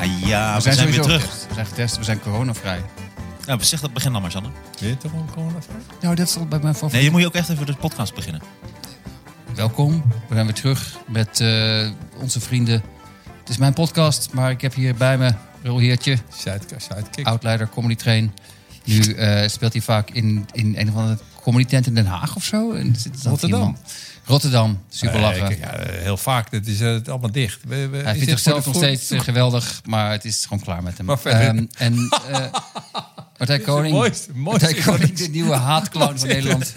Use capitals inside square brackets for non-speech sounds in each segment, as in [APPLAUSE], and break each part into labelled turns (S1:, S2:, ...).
S1: Ah, ja, we
S2: We
S1: zijn,
S2: zijn,
S1: weer
S2: sowieso
S1: terug.
S2: getest. We zijn getest, we zijn coronavrij.
S1: Nou, zeg dat begin dan maar, Sanne.
S3: Weet je toch wel coronavirus?
S2: Nou, dat stond bij mijn
S1: Nee,
S2: favoriet.
S1: je moet je ook echt even de podcast beginnen.
S2: Welkom, we zijn weer terug met eh, onze vrienden. Het is mijn podcast, maar ik heb hier bij me Roel Heertje,
S3: Sidekick. sidekick.
S2: outleider comedy train. Nu eh, speelt hij vaak in, in een of andere comedy tent in Den Haag of zo. En zit dan
S3: Rotterdam.
S2: iemand- Rotterdam, super lachen.
S3: Eh, kijk, ja, eh, heel vaak, dat is eh, het allemaal dicht. We, we,
S2: Hij
S3: is
S2: vindt
S3: dit
S2: zichzelf
S3: voor
S2: nog
S3: de voor-
S2: steeds eh, geweldig, maar het is gewoon klaar met hem.
S3: Maar verder-
S2: Ehm, en
S3: [LAUGHS]
S2: eh, Martijn Koning,
S3: mooiste- mooiste
S2: Martijn Koning,
S3: [LAUGHS] is-
S2: de nieuwe haatclown van Nederland.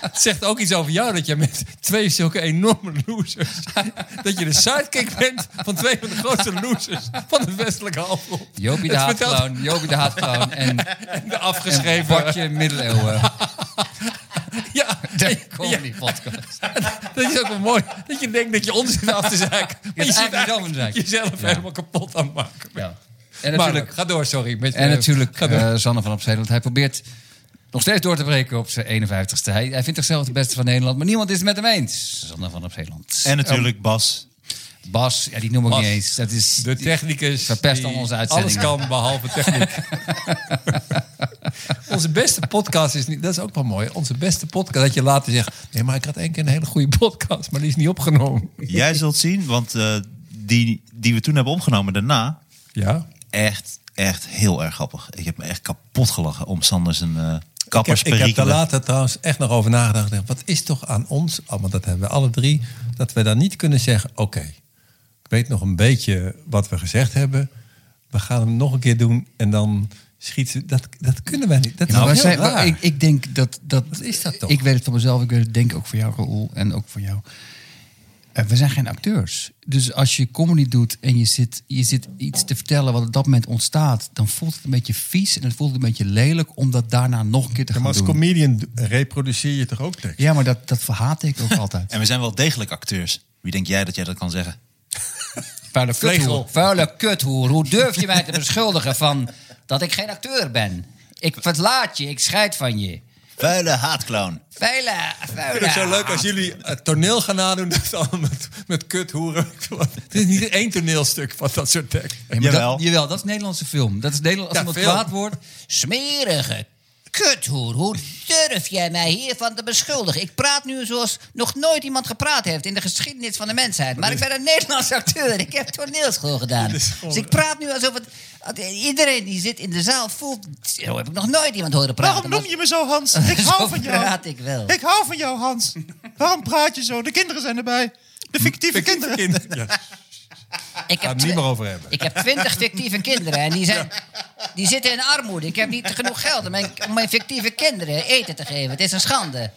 S3: Het zegt ook iets over jou dat je met twee zulke enorme losers... [LAUGHS] dat je de sidekick bent van twee van de grootste losers van de westelijke halfrond.
S2: Jopie de
S3: Het vertelt-
S2: haatclown, Jopie de haatclown en,
S3: [LAUGHS] En de
S2: en
S3: afgeschreven...
S2: Bartje
S3: [LAUGHS]
S2: middeleeuwen.
S3: ja,
S2: De comedy podcast.
S3: [LAUGHS] dat is ook wel mooi. Dat je denkt dat je ons zit af te
S2: [LAUGHS]
S3: zaken. Maar je
S2: eigenlijk
S3: zit
S2: zelf een zaak.
S3: eigenlijk jezelf
S2: Ja.
S3: helemaal kapot aan het maken.
S2: Ja. En
S3: Maar
S2: natuurlijk,
S3: ga door, sorry. Met,
S2: en
S3: eh,
S2: natuurlijk
S3: ga door.
S2: eh, Sanne van Opzee, want hij probeert nog steeds door te breken op zijn 51ste. Hij, hij vindt zichzelf de beste van Nederland, maar niemand is het met hem eens. Sanne van Opzeeland.
S1: En
S2: Oh.
S1: natuurlijk Bas.
S2: Bas, ja, die noem ik
S3: Bas.
S2: niet eens. Dat is,
S3: De technicus.
S2: Verpest
S3: die
S2: al onze uitzendingen.
S3: Alles kan behalve
S2: [LAUGHS]
S3: techniek. onze beste podcast is niet... Dat is ook wel mooi. Onze beste podcast. Dat je later zegt... Nee, maar ik had één keer een hele goede podcast. Maar die is niet opgenomen.
S1: Jij
S2: [LAUGHS]
S1: zult zien, want eh, die, die we toen hebben opgenomen daarna...
S3: Ja.
S1: Echt, echt heel erg grappig. Ik heb me echt kapot gelachen om Sanders een eh
S3: Ik heb, ik heb daar
S1: kappersperikelen.
S3: later trouwens echt nog over nagedacht. Ik dacht, Wat is toch aan ons, oh, want dat hebben we alle drie, dat we dan niet kunnen zeggen: Oké, ik weet nog een beetje wat we gezegd hebben. We gaan hem nog een keer doen en dan schieten. Dat, dat kunnen wij niet. Dat
S2: Ja, maar
S3: is
S2: wij
S3: heel
S2: zijn-
S3: raar.
S2: ik, ik denk dat, dat...
S3: Wat is dat toch?
S2: Ik weet het van mezelf, ik weet het denk ik ook voor jou, Raoul. En ook voor jou. Eh, we zijn geen acteurs. Dus als je comedy doet en je zit, je zit iets te vertellen wat op dat moment ontstaat... dan voelt het een beetje vies en het voelt een beetje lelijk... om dat daarna nog een keer te gaan doen.
S3: comedian reproduceer je toch ook tekst?
S2: Ja, maar dat, dat verhaat ik ook
S3: [LAUGHS]
S2: altijd.
S1: En we zijn wel degelijk acteurs. Wie denk jij dat jij dat kan zeggen?
S2: Vuile
S3: Vlegel.
S2: kuthoer. Vuile kuthoer. Hoe durf je mij te beschuldigen van dat ik geen acteur ben? Ik verlaat je, ik scheid van je.
S1: Vuile
S2: Oh,
S1: haatclown.
S2: Vuile, vuile.
S3: Ik vind het zo leuk als jullie het toneel gaan nadoen. Dat allemaal met, met kuthoeren. Het is niet één toneelstuk van dat soort tekst.
S2: Ja, maar
S1: Jawel.
S2: Dat, jawel, dat is Nederlandse film. Dat is Nederland, als
S3: Ja,
S2: iemand
S3: film.
S2: kwaad wordt. Smerige kuthoer, hoe durf jij mij hiervan te beschuldigen? Ik praat nu zoals nog nooit iemand gepraat heeft in de geschiedenis van de mensheid. Maar ik ben een Nederlandse acteur. Ik heb toneelschool gedaan.
S3: is gewoon-
S2: Dus ik praat nu alsof het... dat Iedereen die zit in de zaal voelt... Zo heb ik nog nooit iemand horen praten.
S1: je me zo,
S2: [LAUGHS]
S1: Hans?
S2: Ik hou Zo van jou. praat ik wel. Ik
S1: hou van jou, Hans. Waarom praat je zo? De kinderen zijn erbij. De fictieve
S3: Kinderen. Ja, daar
S2: Maar Ik
S3: gaan we
S2: heb
S3: het niet
S2: twi-
S3: meer over hebben.
S2: Ik heb twintig fictieve kinderen en die, zijn, die zitten in armoede. Ik heb niet genoeg geld om mijn, om mijn fictieve kinderen eten te geven. Het is een schande.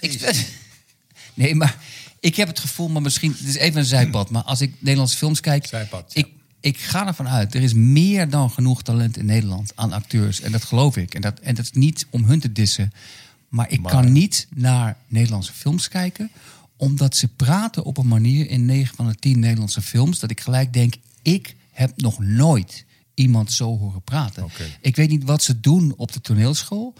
S2: Ik, [LAUGHS] nee, maar ik heb het gevoel, maar misschien... Het is even een zijpad, maar als ik Nederlandse films kijk...
S3: Zijpad, ja.
S2: ik, ik ga ervan uit, er is meer dan genoeg talent in Nederland aan acteurs. En dat geloof ik. En dat, en dat is niet om hun te dissen. Maar ik kan niet naar Nederlandse films kijken... omdat ze praten op een manier in 9 van de 10 Nederlandse films... dat ik gelijk denk, ik heb nog nooit iemand zo horen praten. Ik weet niet wat ze doen op de toneelschool...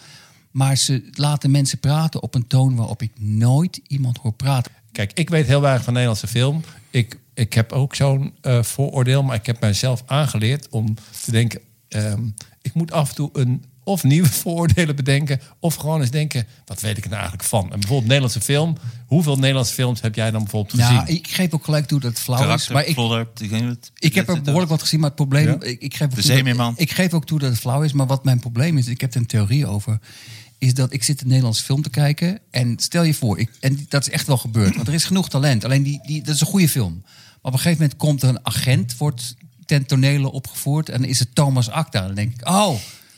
S2: Maar ze laten mensen praten op een toon waarop ik nooit iemand hoor praten.
S3: Kijk, ik weet heel weinig van Nederlandse film. Ik, ik heb ook zo'n eh, vooroordeel, maar ik heb mijzelf aangeleerd om te denken... ehm, ik moet af en toe een, of nieuwe [LAUGHS] vooroordelen bedenken... of gewoon eens denken, wat weet ik er nou eigenlijk van? En bijvoorbeeld Nederlandse film. Hoeveel Nederlandse films heb jij dan bijvoorbeeld gezien?
S2: Nou, ik geef ook gelijk toe dat het flauw is.
S1: Karakter,
S2: Maar ik,
S1: plodder, ik, weet niet.
S2: ik heb er behoorlijk wat gezien, maar het probleem...
S3: Ja?
S2: Ik, ik, geef ook
S1: De
S2: toe dat-
S1: Zeemeerman.
S2: ik geef ook toe dat het flauw is, maar wat mijn probleem is... Ik heb er een theorie over. Is dat ik zit een Nederlandse film te kijken en stel je voor... Ik, en dat is echt wel gebeurd, want er is genoeg talent. Alleen die, die, dat is een goede film. Maar op een gegeven moment komt er een agent, wordt ten tonele opgevoerd... en dan is het Thomas Acta. Dan denk ik, oh...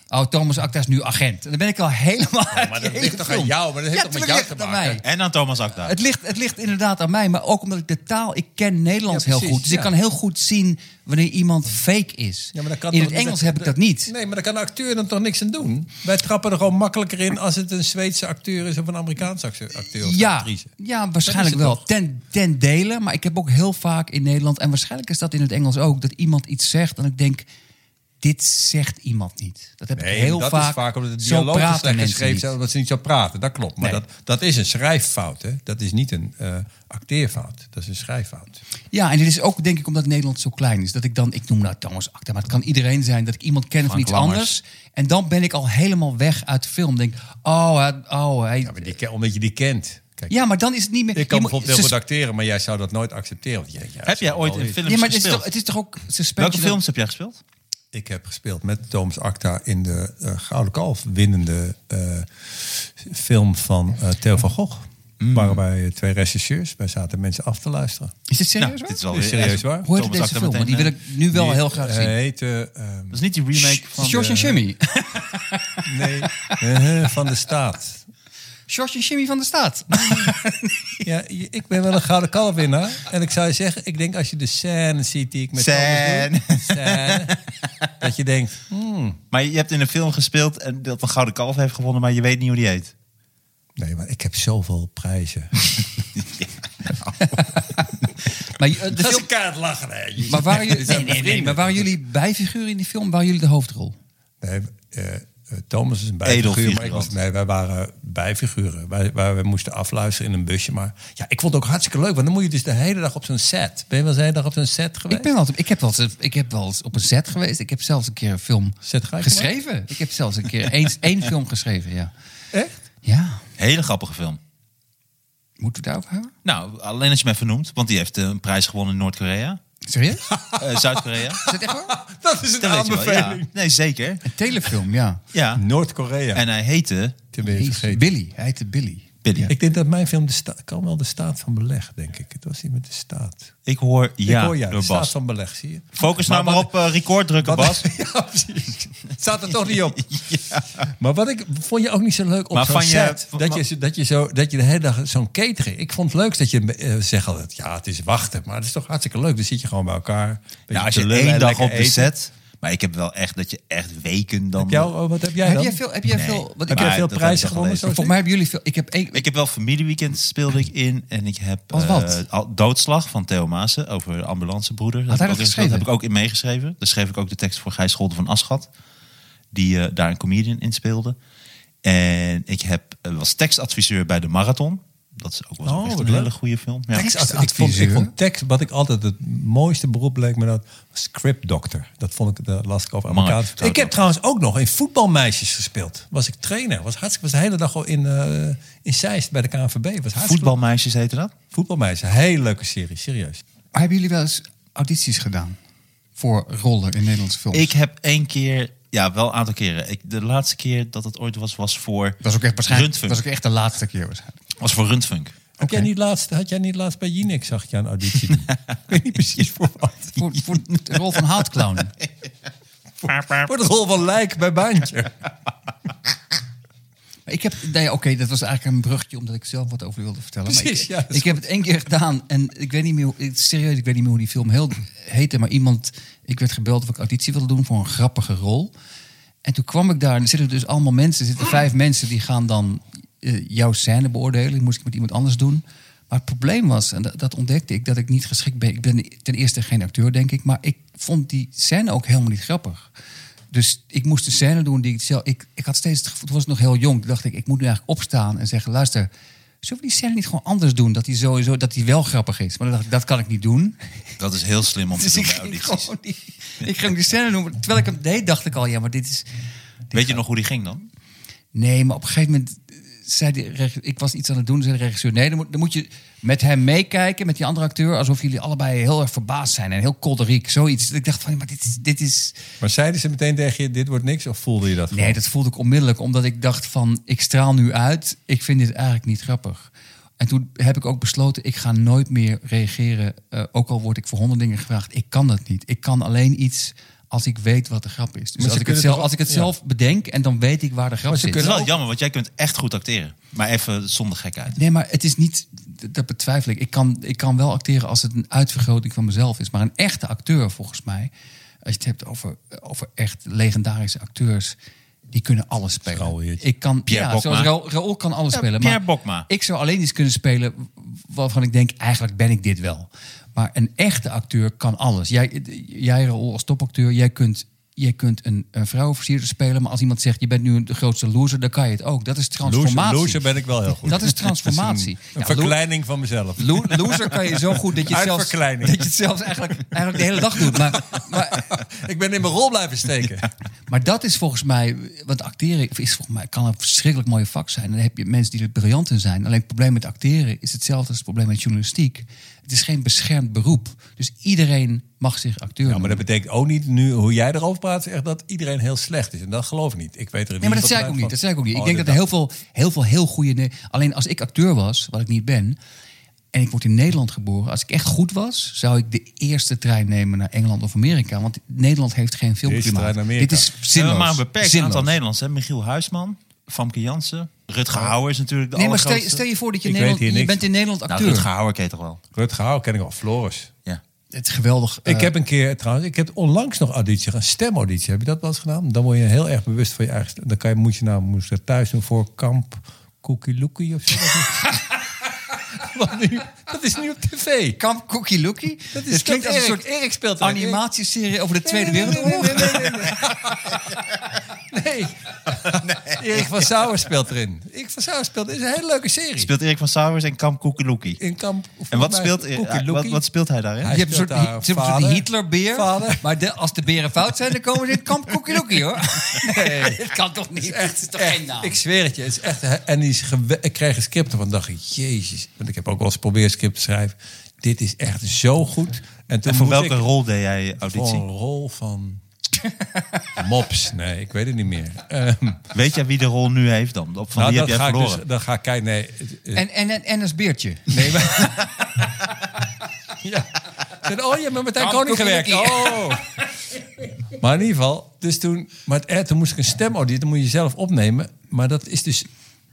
S2: Oh, Thomas Acta is nu agent. En dan ben ik al [LAUGHS] helemaal. uit die
S3: maar dat
S2: hele
S3: ligt toch
S2: film.
S3: aan jou? Maar dat heeft
S2: Ja,
S3: toch met
S2: tuurlijk
S3: jou
S2: ligt
S3: te
S2: het aan
S3: maken?
S2: mij.
S1: En aan Thomas Akda.
S2: Het ligt, het ligt inderdaad aan mij, maar ook omdat ik de taal... Ik ken Nederlands
S3: Ja,
S2: heel
S3: precies,
S2: goed, dus
S3: ja.
S2: ik kan heel goed zien wanneer iemand fake is.
S3: Ja, maar dat kan
S2: In
S3: toch
S2: het
S3: niet-
S2: Engels heb ik dat niet.
S3: Nee, maar daar kan de acteur dan toch niks aan doen? Wij trappen er gewoon makkelijker in als het een Zweedse acteur is of een Amerikaanse acteur acteur of
S2: Ja,
S3: actrice.
S2: ja,
S3: Dat is
S2: waarschijnlijk
S3: het
S2: wel.
S3: toch?
S2: Ten, ten dele, maar ik heb ook heel vaak in Nederland... en waarschijnlijk is dat in het Engels ook, dat iemand iets zegt... en ik denk, dit zegt iemand niet. Dat heb
S3: Nee,
S2: ik heel
S3: dat
S2: vaak.
S3: is vaak omdat de
S2: Zo
S3: dialogen
S2: praten
S3: slecht
S2: mensen
S3: geschreven
S2: niet.
S3: zijn, omdat ze niet zo praten. Dat klopt. Maar
S2: Nee.
S3: dat, dat is een schrijffout. Hè? Dat is niet een eh, acteerfout. Dat is een schrijffout.
S2: Ja, en dit is ook denk ik omdat Nederland zo klein is. Dat ik dan, ik noem nou Thomas Acta, maar het kan iedereen zijn dat ik iemand ken van
S1: Frank
S2: iets
S1: Lammers.
S2: anders. En dan ben ik al helemaal weg uit de film. Denk, oh, hij- oh hij,
S3: Ja, maar die, ken- Eh, omdat je die kent. Kijk,
S2: Ja, maar dan is het niet meer.
S3: ik kan
S2: je moet-
S3: bijvoorbeeld heel
S2: ze-
S3: goed acteren, maar jij zou dat nooit accepteren. Want je denkt, ja, dat
S1: Heb
S3: is
S1: jij
S3: wel
S1: ooit
S3: iets.
S1: in films
S2: Ja, maar het is,
S1: gespeeld?
S2: toch, het is toch ook. Ze spelen
S1: Welke
S2: wel-
S1: films heb jij gespeeld?
S3: Ik heb gespeeld met Thomas Acta in de eh, Gouden Kalf winnende eh, film van eh Theo van Gogh.
S2: Mm.
S3: Waren wij twee regisseurs. Wij zaten mensen af te luisteren.
S2: Is dit serieus?
S1: Nou,
S2: hoor?
S1: dit is wel
S3: Dit is
S1: weer-
S3: serieus waar.
S2: Hoe heet
S1: Thomas
S2: deze
S1: Acta
S2: film? Want die wil
S1: meteen, eh,
S2: ik nu wel
S3: Die,
S2: heel graag
S3: eh,
S2: zien.
S3: heette, ehm,
S1: Dat is niet die remake van...
S2: George en
S1: de-
S2: Jimmy.
S3: nee, [LAUGHS] eh, van de staat.
S2: George en Jimmy van de Staat.
S3: Ja, je- ik ben wel een gouden kalfwinnaar. En ik zou je zeggen, ik denk als je de scène ziet die ik met
S1: Scène.
S3: Thomas doe, scène, dat je denkt,
S1: Maar je hebt in een film gespeeld en dat een Gouden Kalf heeft gewonnen, maar je weet niet hoe die heet.
S3: nee, maar ik heb zoveel prijzen.
S2: Maar, eh, de film,
S3: kaart lachen. Hè.
S2: maar,
S1: [LAUGHS]
S2: waren, jullie, nee, nee, nee, maar waren jullie bijfiguren in die film? Waren jullie de hoofdrol?
S3: Nee, eh, eh, Thomas is een bijfiguur. Maar ik was,
S1: Edelfigurant.
S3: nee, wij waren bijfiguren. Wij, wij, wij moesten afluisteren in een busje. Maar ja, ik vond het ook hartstikke leuk. Want dan moet je dus de hele dag op zo'n set. Ben je wel eens de hele dag op zo'n set geweest?
S2: Ik, ben altijd, ik, heb wel eens, ik heb wel eens op een set geweest. Ik heb zelfs een keer een film
S3: Set ga je
S2: geschreven. Ik heb zelfs een keer eens, één film geschreven, ja.
S3: Echt?
S2: Ja,
S1: Hele grappige film.
S2: moeten we het daarover hebben?
S1: Nou, alleen als je mij vernoemt, want die heeft eh, een prijs gewonnen in Noord-Korea,
S3: [LAUGHS]
S2: Serieus? Is
S1: Eh, Zuid-Korea.
S2: dat echt waar?
S3: Dat is een
S1: Dat weet je wel, ja.
S3: aanbeveling.
S1: Nee, zeker.
S2: Een telefilm, ja.
S1: Ja.
S3: Noord-Korea.
S1: En hij heette
S3: Tenminste,
S2: Jezus,
S3: vergeten.
S2: Billy, hij heette Billy.
S1: Billy. Ik,
S3: Ik denk dat mijn film de sta- kan wel de staat van beleg, denk ik. Het was niet met de staat.
S1: ik hoor ja,
S3: ik hoor ja, de
S1: door
S3: staat
S1: Bas.
S3: van beleg, zie je?
S1: Focus nou maar
S3: wat-
S1: op eh, record drukken,
S3: wat- [LAUGHS]
S1: Bas.
S3: Ja, precies. Het Staat er toch niet [LAUGHS] op. Maar wat ik vond je ook niet zo leuk op
S1: Maar
S3: zo'n
S1: van je-
S3: set,
S1: van-
S3: dat,
S1: maar-
S3: je, zo- dat, je zo, dat je de hele dag zo'n catering... Ik vond het leuk dat je eh, zegt altijd, ja, het is wachten. Maar het is toch hartstikke leuk. Dan zit je gewoon bij elkaar.
S1: Nou, als je één dag op de set... Maar ik heb wel echt dat je echt weken dan...
S3: Jou, wat heb jij
S2: Heb
S3: dan?
S2: jij veel... Heb jij
S1: Nee.
S2: veel wat
S3: heb
S2: ik,
S1: Maar
S3: jij veel
S1: dat had ik
S3: prijzen
S1: al
S3: gewonnen?
S1: gelezen.
S3: Sophie?
S2: volgens mij hebben jullie veel... Ik heb één...
S1: Ik heb wel familieweekend speelde ik in en ik heb
S2: Wat, wat?
S1: eh, al- doodslag van Theo Maassen over de ambulancebroeder.
S2: Had
S1: heb
S2: hij
S1: ik
S2: dat
S1: ook-
S2: geschreven?
S1: heb ik ook in meegeschreven. Daar schreef ik ook de tekst voor Gijs Scholder van Aschat, die eh, daar een comedian in speelde. En ik heb, eh, was tekstadviseur bij de Marathon. Dat is ook wel
S3: Oh,
S1: echt
S3: wat
S1: een
S3: leuk.
S1: hele goede film. Ja.
S2: Tekst-
S3: Als- ik, vond, ik
S2: Adviseur.
S3: vond tekst, wat ik altijd het mooiste beroep leek me dat, was scriptdokter. Dat vond ik, dat las ik over
S1: Mark
S3: Amerikaans.
S1: zou
S3: Ik heb
S1: dat-
S3: trouwens ook nog in voetbalmeisjes gespeeld. Was ik trainer. Was hartstikke, was de hele dag al in, eh, in Zeist bij de KNVB. Was hartstikke
S1: Voetbalmeisjes heette dat?
S3: Voetbalmeisjes. Hele leuke serie, serieus.
S2: Maar hebben jullie wel eens audities gedaan? Voor rollen in Nederlandse films?
S1: Ik heb één keer, ja, wel een aantal keren. Ik, de laatste keer dat het ooit was, was voor
S2: Dat was ook echt waarschijnlijk...
S1: Rundfunk.
S2: was ook echt de laatste
S1: [LAUGHS]
S2: keer waarschijnlijk.
S1: was voor Rundfunk.
S3: Heb jij niet laatst, had jij niet laatst bij Jinek, zag ik je een auditie [LAUGHS] doen? ik weet niet precies voor wat. [LAUGHS]
S2: Voor, voor de rol van Houtclown.
S3: Voor de rol van Lijk bij [LAUGHS] Baantje.
S2: Ik heb, nee, oké, dat was eigenlijk een brugje omdat ik zelf wat over wilde vertellen. Maar
S3: Precies,
S2: ik,
S3: ja, dat is
S2: Ik heb het één keer gedaan en ik weet niet meer, hoe- ik- serieus, ik weet niet meer hoe die film heel heette, maar iemand, ik werd gebeld of ik auditie wilde doen voor een grappige rol. En toen kwam ik daar en er zitten dus allemaal mensen, er
S1: Ah.
S2: zitten vijf mensen die gaan dan eh, jouw scène beoordelen. Die moest ik met iemand anders doen. Maar het probleem was, en dat, dat ontdekte ik, dat ik niet geschikt ben. Ik ben ten eerste geen acteur, denk ik, maar ik vond die scène ook helemaal niet grappig. Dus ik moest een scène doen die ik zelf. Ik, ik had steeds het gevoel, toen was ik nog heel jong. Toen dacht ik, ik moet nu eigenlijk opstaan en zeggen: luister, zullen we die scène niet gewoon anders doen? Dat die sowieso, dat die wel grappig is. Maar dan dacht ik, dat kan ik niet doen. [LAUGHS]
S1: Dat is heel slim om te
S2: Dus
S1: doen nou
S2: ik
S1: bij
S2: ging
S1: audities.
S2: gewoon die, ik ging die scène doen. Maar Terwijl ik hem deed, dacht ik al, ja, maar dit is.
S1: Weet je nog hoe die ging dan?
S2: Nee, maar op een gegeven moment eh, zei de reg- ik was iets aan het doen, zei de regisseur, nee, dan moet, dan moet je met hem meekijken, met die andere acteur, alsof jullie allebei heel erg verbaasd zijn en heel kolderiek, zoiets. Dat Ik dacht van, maar dit is, dit is,
S3: Maar zeiden ze meteen tegen je, dit wordt niks? Of voelde je dat gewoon?
S2: Nee, dat voelde ik onmiddellijk, omdat ik dacht van, ik straal nu uit, ik vind dit eigenlijk niet grappig. En toen heb ik ook besloten, ik ga nooit meer reageren, eh, ook al word ik voor honderd dingen gevraagd. Ik kan dat niet. Ik kan alleen iets als ik weet wat de grap is. Dus
S3: ze
S2: als ik, het
S3: kunnen
S2: zelf,
S3: toch-
S2: als ik het
S3: ja.
S2: zelf bedenk en dan weet ik waar de grap
S3: Maar ze
S2: zit.
S1: Het is
S3: kunnen-
S1: wel jammer, want jij kunt echt goed acteren. Maar even zonder gekheid.
S2: Nee, maar het is niet. Dat betwijfel ik. Ik kan, ik kan wel acteren als het een uitvergroting van mezelf is. Maar een echte acteur, volgens mij. Als je het hebt over, over echt legendarische acteurs. Die kunnen alles spelen.
S3: Raoul Heertje.
S2: ik kan,
S1: Pierre
S2: ja,
S1: Bokma.
S2: zoals Raoul, Raoul kan alles
S1: Ja,
S2: spelen.
S1: Pierre
S2: maar
S1: Bokma.
S2: Ik zou alleen iets kunnen spelen waarvan ik denk, eigenlijk ben ik dit wel. Maar een echte acteur kan alles. Jij, jij Raoul, als topacteur, jij kunt, jij kunt een, een vrouwenversierder spelen. Maar als iemand zegt, je bent nu de grootste loser, dan kan je het ook. Dat is transformatie.
S3: Loser, loser ben ik wel heel goed.
S2: Dat
S3: [LAUGHS]
S2: is
S3: Dat is
S2: transformatie.
S3: een-
S2: Ja,
S3: Een verkleining van mezelf.
S2: lo- lo- Loser kan je zo goed dat
S3: [LAUGHS]
S2: je het zelfs, dat
S3: Uitverkleining.
S2: je het zelfs eigenlijk, eigenlijk de hele dag doet. Maar,
S3: [LAUGHS]
S2: maar,
S3: Ik ben in mijn rol blijven steken.
S2: maar dat is volgens mij, want acteren is volgens mij, kan een verschrikkelijk mooie vak zijn. En dan heb je mensen die er briljant in zijn. Alleen het probleem met acteren is hetzelfde als het probleem met journalistiek. Het is geen beschermd beroep. Dus iedereen mag zich acteur
S3: Ja, Nou, maar dat
S2: noemen.
S3: betekent ook niet nu hoe jij erover praat, zeg dat iedereen heel slecht is. En dat geloof ik niet. Ik weet er
S2: Nee,
S3: in
S2: maar
S3: ieder
S2: dat zei ik
S3: geval
S2: ook niet. Dat zei ik ook niet.
S3: Oh,
S2: ik denk dat er heel veel, heel veel heel goede. Ne- Alleen als ik acteur was, wat ik niet ben, en ik word in Nederland geboren, als ik echt goed was, zou ik de eerste trein nemen naar Engeland of Amerika, want Nederland heeft geen
S3: trein
S2: filmklimaat.
S3: naar Amerika.
S2: Dit is
S1: We
S2: zinloos.
S1: hebben Eh, maar een beperkt
S2: Zinloos.
S1: aantal Nederlands. Hè? Michiel Huisman, Famke Jansen, Rutger Hauer is natuurlijk de
S2: Nee, maar stel,
S1: allergrootste.
S2: stel je voor dat je,
S3: Ik
S2: Nederland,
S3: weet hier
S2: je
S3: niks.
S2: bent in Nederland
S1: Nou,
S2: acteur.
S1: Rutger Hauer ken je toch wel?
S3: Rutger Hauer ken ik al. Floris.
S1: Ja.
S2: het is geweldig. eh,
S3: ik heb een keer trouwens, ik heb onlangs nog auditie, een stemauditie. Heb je dat wel eens gedaan? Dan word je heel erg bewust van je eigen stem. Dan kan je, moet je nou moest je dat thuis doen voor kamp Cookie Lookie of zo.
S2: [LAUGHS]
S3: Want nu- dat is nu op tv.
S2: Kamp Cookie Lookie.
S3: Dat is-
S2: Dit klinkt
S3: dat
S2: als een
S3: Erik-
S2: soort
S3: Erik speelt erin.
S2: animatieserie over de Tweede
S3: Nee, nee,
S2: Wereldoorlog.
S3: Nee, nee, nee, nee, [LAUGHS] nee. Nee. Erik van Sauer speelt erin. Erik van Sauer speelt erin. is een hele leuke serie.
S1: Speelt Erik van Sauwers en Kamp Koekeloekie.
S3: in kamp. volgens
S1: En wat
S3: mij,
S1: speelt, eh,
S3: Cookie
S1: wat,
S3: Lookie.
S1: wat speelt hij daarin?
S3: Hij
S2: je hebt een
S3: speelt
S2: soort,
S3: daar
S2: een soort
S3: vader.
S2: Hitlerbeer.
S3: Vader.
S2: Maar de, als de beren fout zijn, dan komen ze in het kamp koekieloekie,
S3: [LAUGHS]
S2: hoor. Nee, [LAUGHS] dat kan toch niet? Het is toch geen naam?
S3: Ik zweer het je. Het is echt, en die is gewe- ik kreeg een script ervan. dacht ik, jezus. Want ik heb ook wel eens geprobeerd script te schrijven. Dit is echt zo goed. En, toen
S1: En voor
S3: moest
S1: welke
S3: ik, Oh.
S1: rol deed jij
S3: Voor
S1: auditie?
S3: een rol
S1: [LAUGHS]
S3: van... Mops. Nee, ik weet het niet meer. Ehm,
S1: Weet jij wie de rol nu heeft dan? Of van
S3: nou,
S1: die heb
S3: dan
S1: jij
S3: ga, ik dus,
S1: verloren?
S3: dan ga ik kijken. Nee, het- het-
S2: En, en, en, en als beertje.
S3: Nee, maar... [LAUGHS] ja. Zeiden, Oh, je hebt met Martijn
S2: Kamp
S3: Koning gewerkt.
S2: Koekeloekie.
S3: Oh. maar in ieder geval, dus toen... Maar het- eh, toen moest ik een stemauditie, dat moet je zelf opnemen. Maar dat is dus...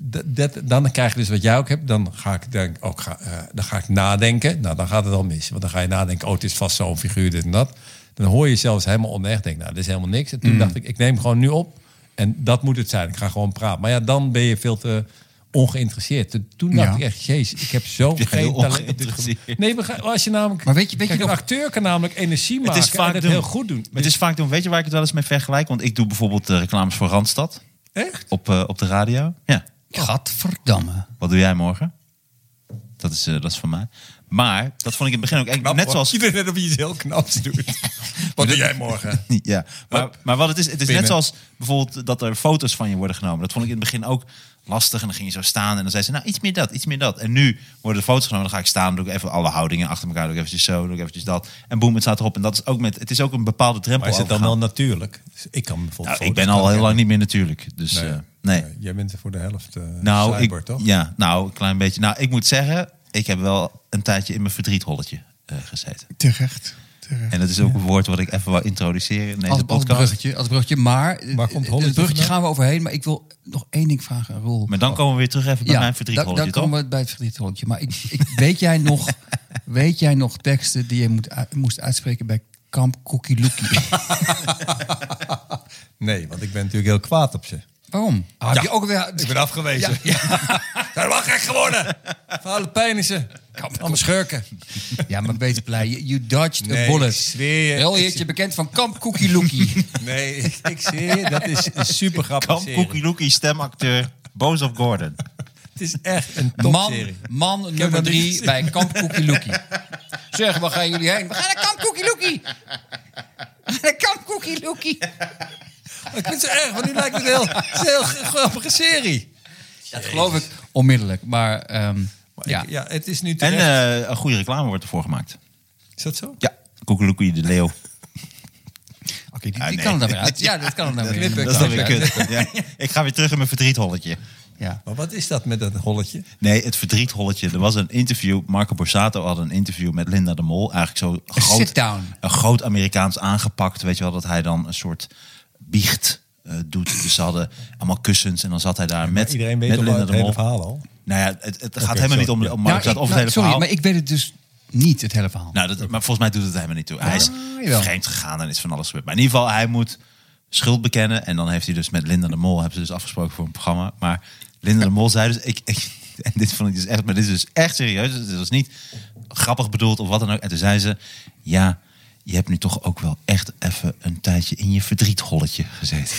S3: Dat, dat- dan krijg je dus wat jij ook hebt. Dan ga ik, denk, ook ga, eh, dan ga ik nadenken. Nou, dan gaat het al mis. Want dan ga je nadenken, oh, het is vast zo'n figuur, dit en dat. Dan hoor je zelfs helemaal onecht. Denk, nou, dit is helemaal niks. En
S1: Mm.
S3: toen dacht ik, ik neem hem gewoon nu op. En dat moet het zijn. Ik ga gewoon praten. Maar ja, dan ben je veel te ongeïnteresseerd. Toen dacht
S2: Ja.
S3: ik echt, jezus, ik heb zo
S1: Ja,
S3: geen
S1: heel
S3: talent. op dit
S1: ongeïnteresseerd.
S3: gebied. Nee, maar ga- als je namelijk.
S2: Maar weet je- weet je
S3: kijk, een
S2: nog-
S3: acteur kan namelijk energie maken en het
S1: doen.
S3: heel goed doen.
S1: Het is vaak doen. Weet je waar ik het wel eens mee vergelijk? Want ik doe bijvoorbeeld eh, reclames voor Randstad
S3: echt.
S1: op, eh, op de radio. Ja.
S3: Oh.
S2: Gadverdamme.
S1: Wat doe jij morgen? Dat is, eh, dat is van mij. Maar dat vond ik in het begin ook echt. Net zoals.
S3: Iedereen net of je iets heel knaps doet. Wat doe jij morgen?
S1: Ja, maar, maar wat het is, het is net
S3: Binnen.
S1: zoals bijvoorbeeld dat er foto's van je worden genomen. Dat vond ik in het begin ook lastig. En dan ging je zo staan en dan zei ze, nou, iets meer dat, iets meer dat. En nu worden de foto's genomen, dan ga ik staan, doe ik even alle houdingen achter elkaar, doe ik eventjes zo, doe ik eventjes dat. En boem, het staat erop. En dat is ook met, het is ook een bepaalde drempel
S3: Maar is het dan wel
S1: overgaan.
S3: natuurlijk? Ik kan bijvoorbeeld.
S1: Nou, ik
S3: foto's
S1: ben al
S3: maken.
S1: heel lang niet meer natuurlijk, dus eh,
S3: Nee.
S1: nee.
S3: Nee, Jij bent er voor de helft. eh
S1: Nou,
S3: cyber,
S1: ik,
S3: toch?
S1: Ja, nou, een klein beetje. Nou, ik moet zeggen, ik heb wel een tijdje in mijn verdrietholletje eh, gezeten.
S2: Terecht. Terecht.
S1: En dat is ook een woord wat ik even wil introduceren in deze
S2: Als, als
S1: podcast.
S2: bruggetje, als bruggetje. Maar eh,
S3: Waar komt Holletje
S2: het bruggetje
S3: vandaan? Oh.
S2: gaan we overheen. Maar ik wil nog één ding vragen aan Roel.
S1: Maar dan komen we weer terug even bij mijn
S2: dan,
S1: verdrietholletje,
S2: dan
S1: toch?
S2: komen we bij het verdrietholletje. Maar ik, ik, [LAUGHS] weet, jij nog, weet jij nog teksten die je moet, u- moest uitspreken bij Kamp
S3: [LAUGHS]
S2: Koekieloekie?
S3: [LAUGHS] Nee, want ik ben natuurlijk heel kwaad op ze.
S2: Waarom? Ah, heb je ook weer...
S3: Ik ben afgewezen. Ja, [LAUGHS] Hij was gek geworden. Verhalen pijn is ze. Allemaal schurken.
S2: [LAUGHS] Ja, maar wees blij. You, you dodged
S3: Nee,
S2: a
S3: ik
S2: bullet.
S3: zweer je.
S2: Wel
S3: Ik
S2: heertje bekend van Kamp Koekieloekie.
S3: [LAUGHS] Nee, ik, ik zie je. Dat is een super grappig.
S1: Kamp Cookie Lookie, stemacteur, boos op Gordon.
S3: Het is echt een
S2: Man,
S3: topserie.
S2: man
S3: dat
S2: nummer
S3: niet
S2: drie
S3: gezien.
S2: bij Kamp
S3: [LAUGHS]
S2: Koekieloekie. Zeg, waar gaan jullie heen? We gaan naar Kamp Koekieloekie. We gaan naar Kamp Koekieloekie.
S3: [LAUGHS] Ik vind het zo erg, want nu lijkt het heel, het is een heel grappige serie.
S2: Dat geloof ik onmiddellijk. Maar, ehm, ja.
S3: Ja, ja het is nu
S1: En
S3: terecht.
S1: eh, een goede reclame wordt ervoor gemaakt.
S3: is dat zo?
S1: Ja, Cookie Lookie de leeuw.
S2: Oké, die,
S1: Ah,
S2: die
S1: nee. [LAUGHS]
S3: [LAUGHS]
S2: kan er dan weer uit. Ja, dat kan er dan weer uit.
S3: knippen.
S1: Dat is dan weer kut. Ja. Ik ga weer terug in mijn verdrietholletje.
S2: Ja.
S3: Maar wat is dat met dat holletje?
S1: Nee, het verdrietholletje. Er was een interview. Marco Borsato had een interview met Linda de Mol. Eigenlijk zo
S2: Een
S1: groot,
S2: sit-down.
S1: een groot Amerikaans aangepakt. Weet je wel, dat hij dan een soort biecht eh, doet. Dus ze hadden allemaal kussens en dan zat hij daar met,
S3: iedereen weet
S1: met
S3: toch
S1: Linda
S3: wel
S1: de
S3: het
S1: Mol.
S3: hele verhaal al?
S1: Nou ja, het, het gaat helemaal
S3: sorry.
S1: niet om,
S3: Ja.
S1: om Marco
S2: Nou,
S1: Borsato,
S2: ik-
S1: over het
S2: nou,
S1: hele
S2: sorry,
S1: verhaal.
S2: maar ik weet het dus niet, het hele verhaal.
S1: Nou, dat, maar volgens mij doet het helemaal niet toe. Hij is
S3: Ah,
S2: jawel.
S1: vreemd gegaan en is van alles gebeurd. Maar in ieder geval, hij moet schuld bekennen. En dan heeft hij dus met Linda de Mol, hebben ze dus afgesproken voor een programma. Maar Linda de Mol zei dus, ik, [LAUGHS] ik- en dit vond ik dus echt, maar dit is dus echt serieus. Dus Dit was niet grappig bedoeld of wat dan ook. En toen zei ze, ja, je hebt nu toch ook wel echt even een tijdje in je verdrietholletje
S3: [LAUGHS]
S1: gezeten.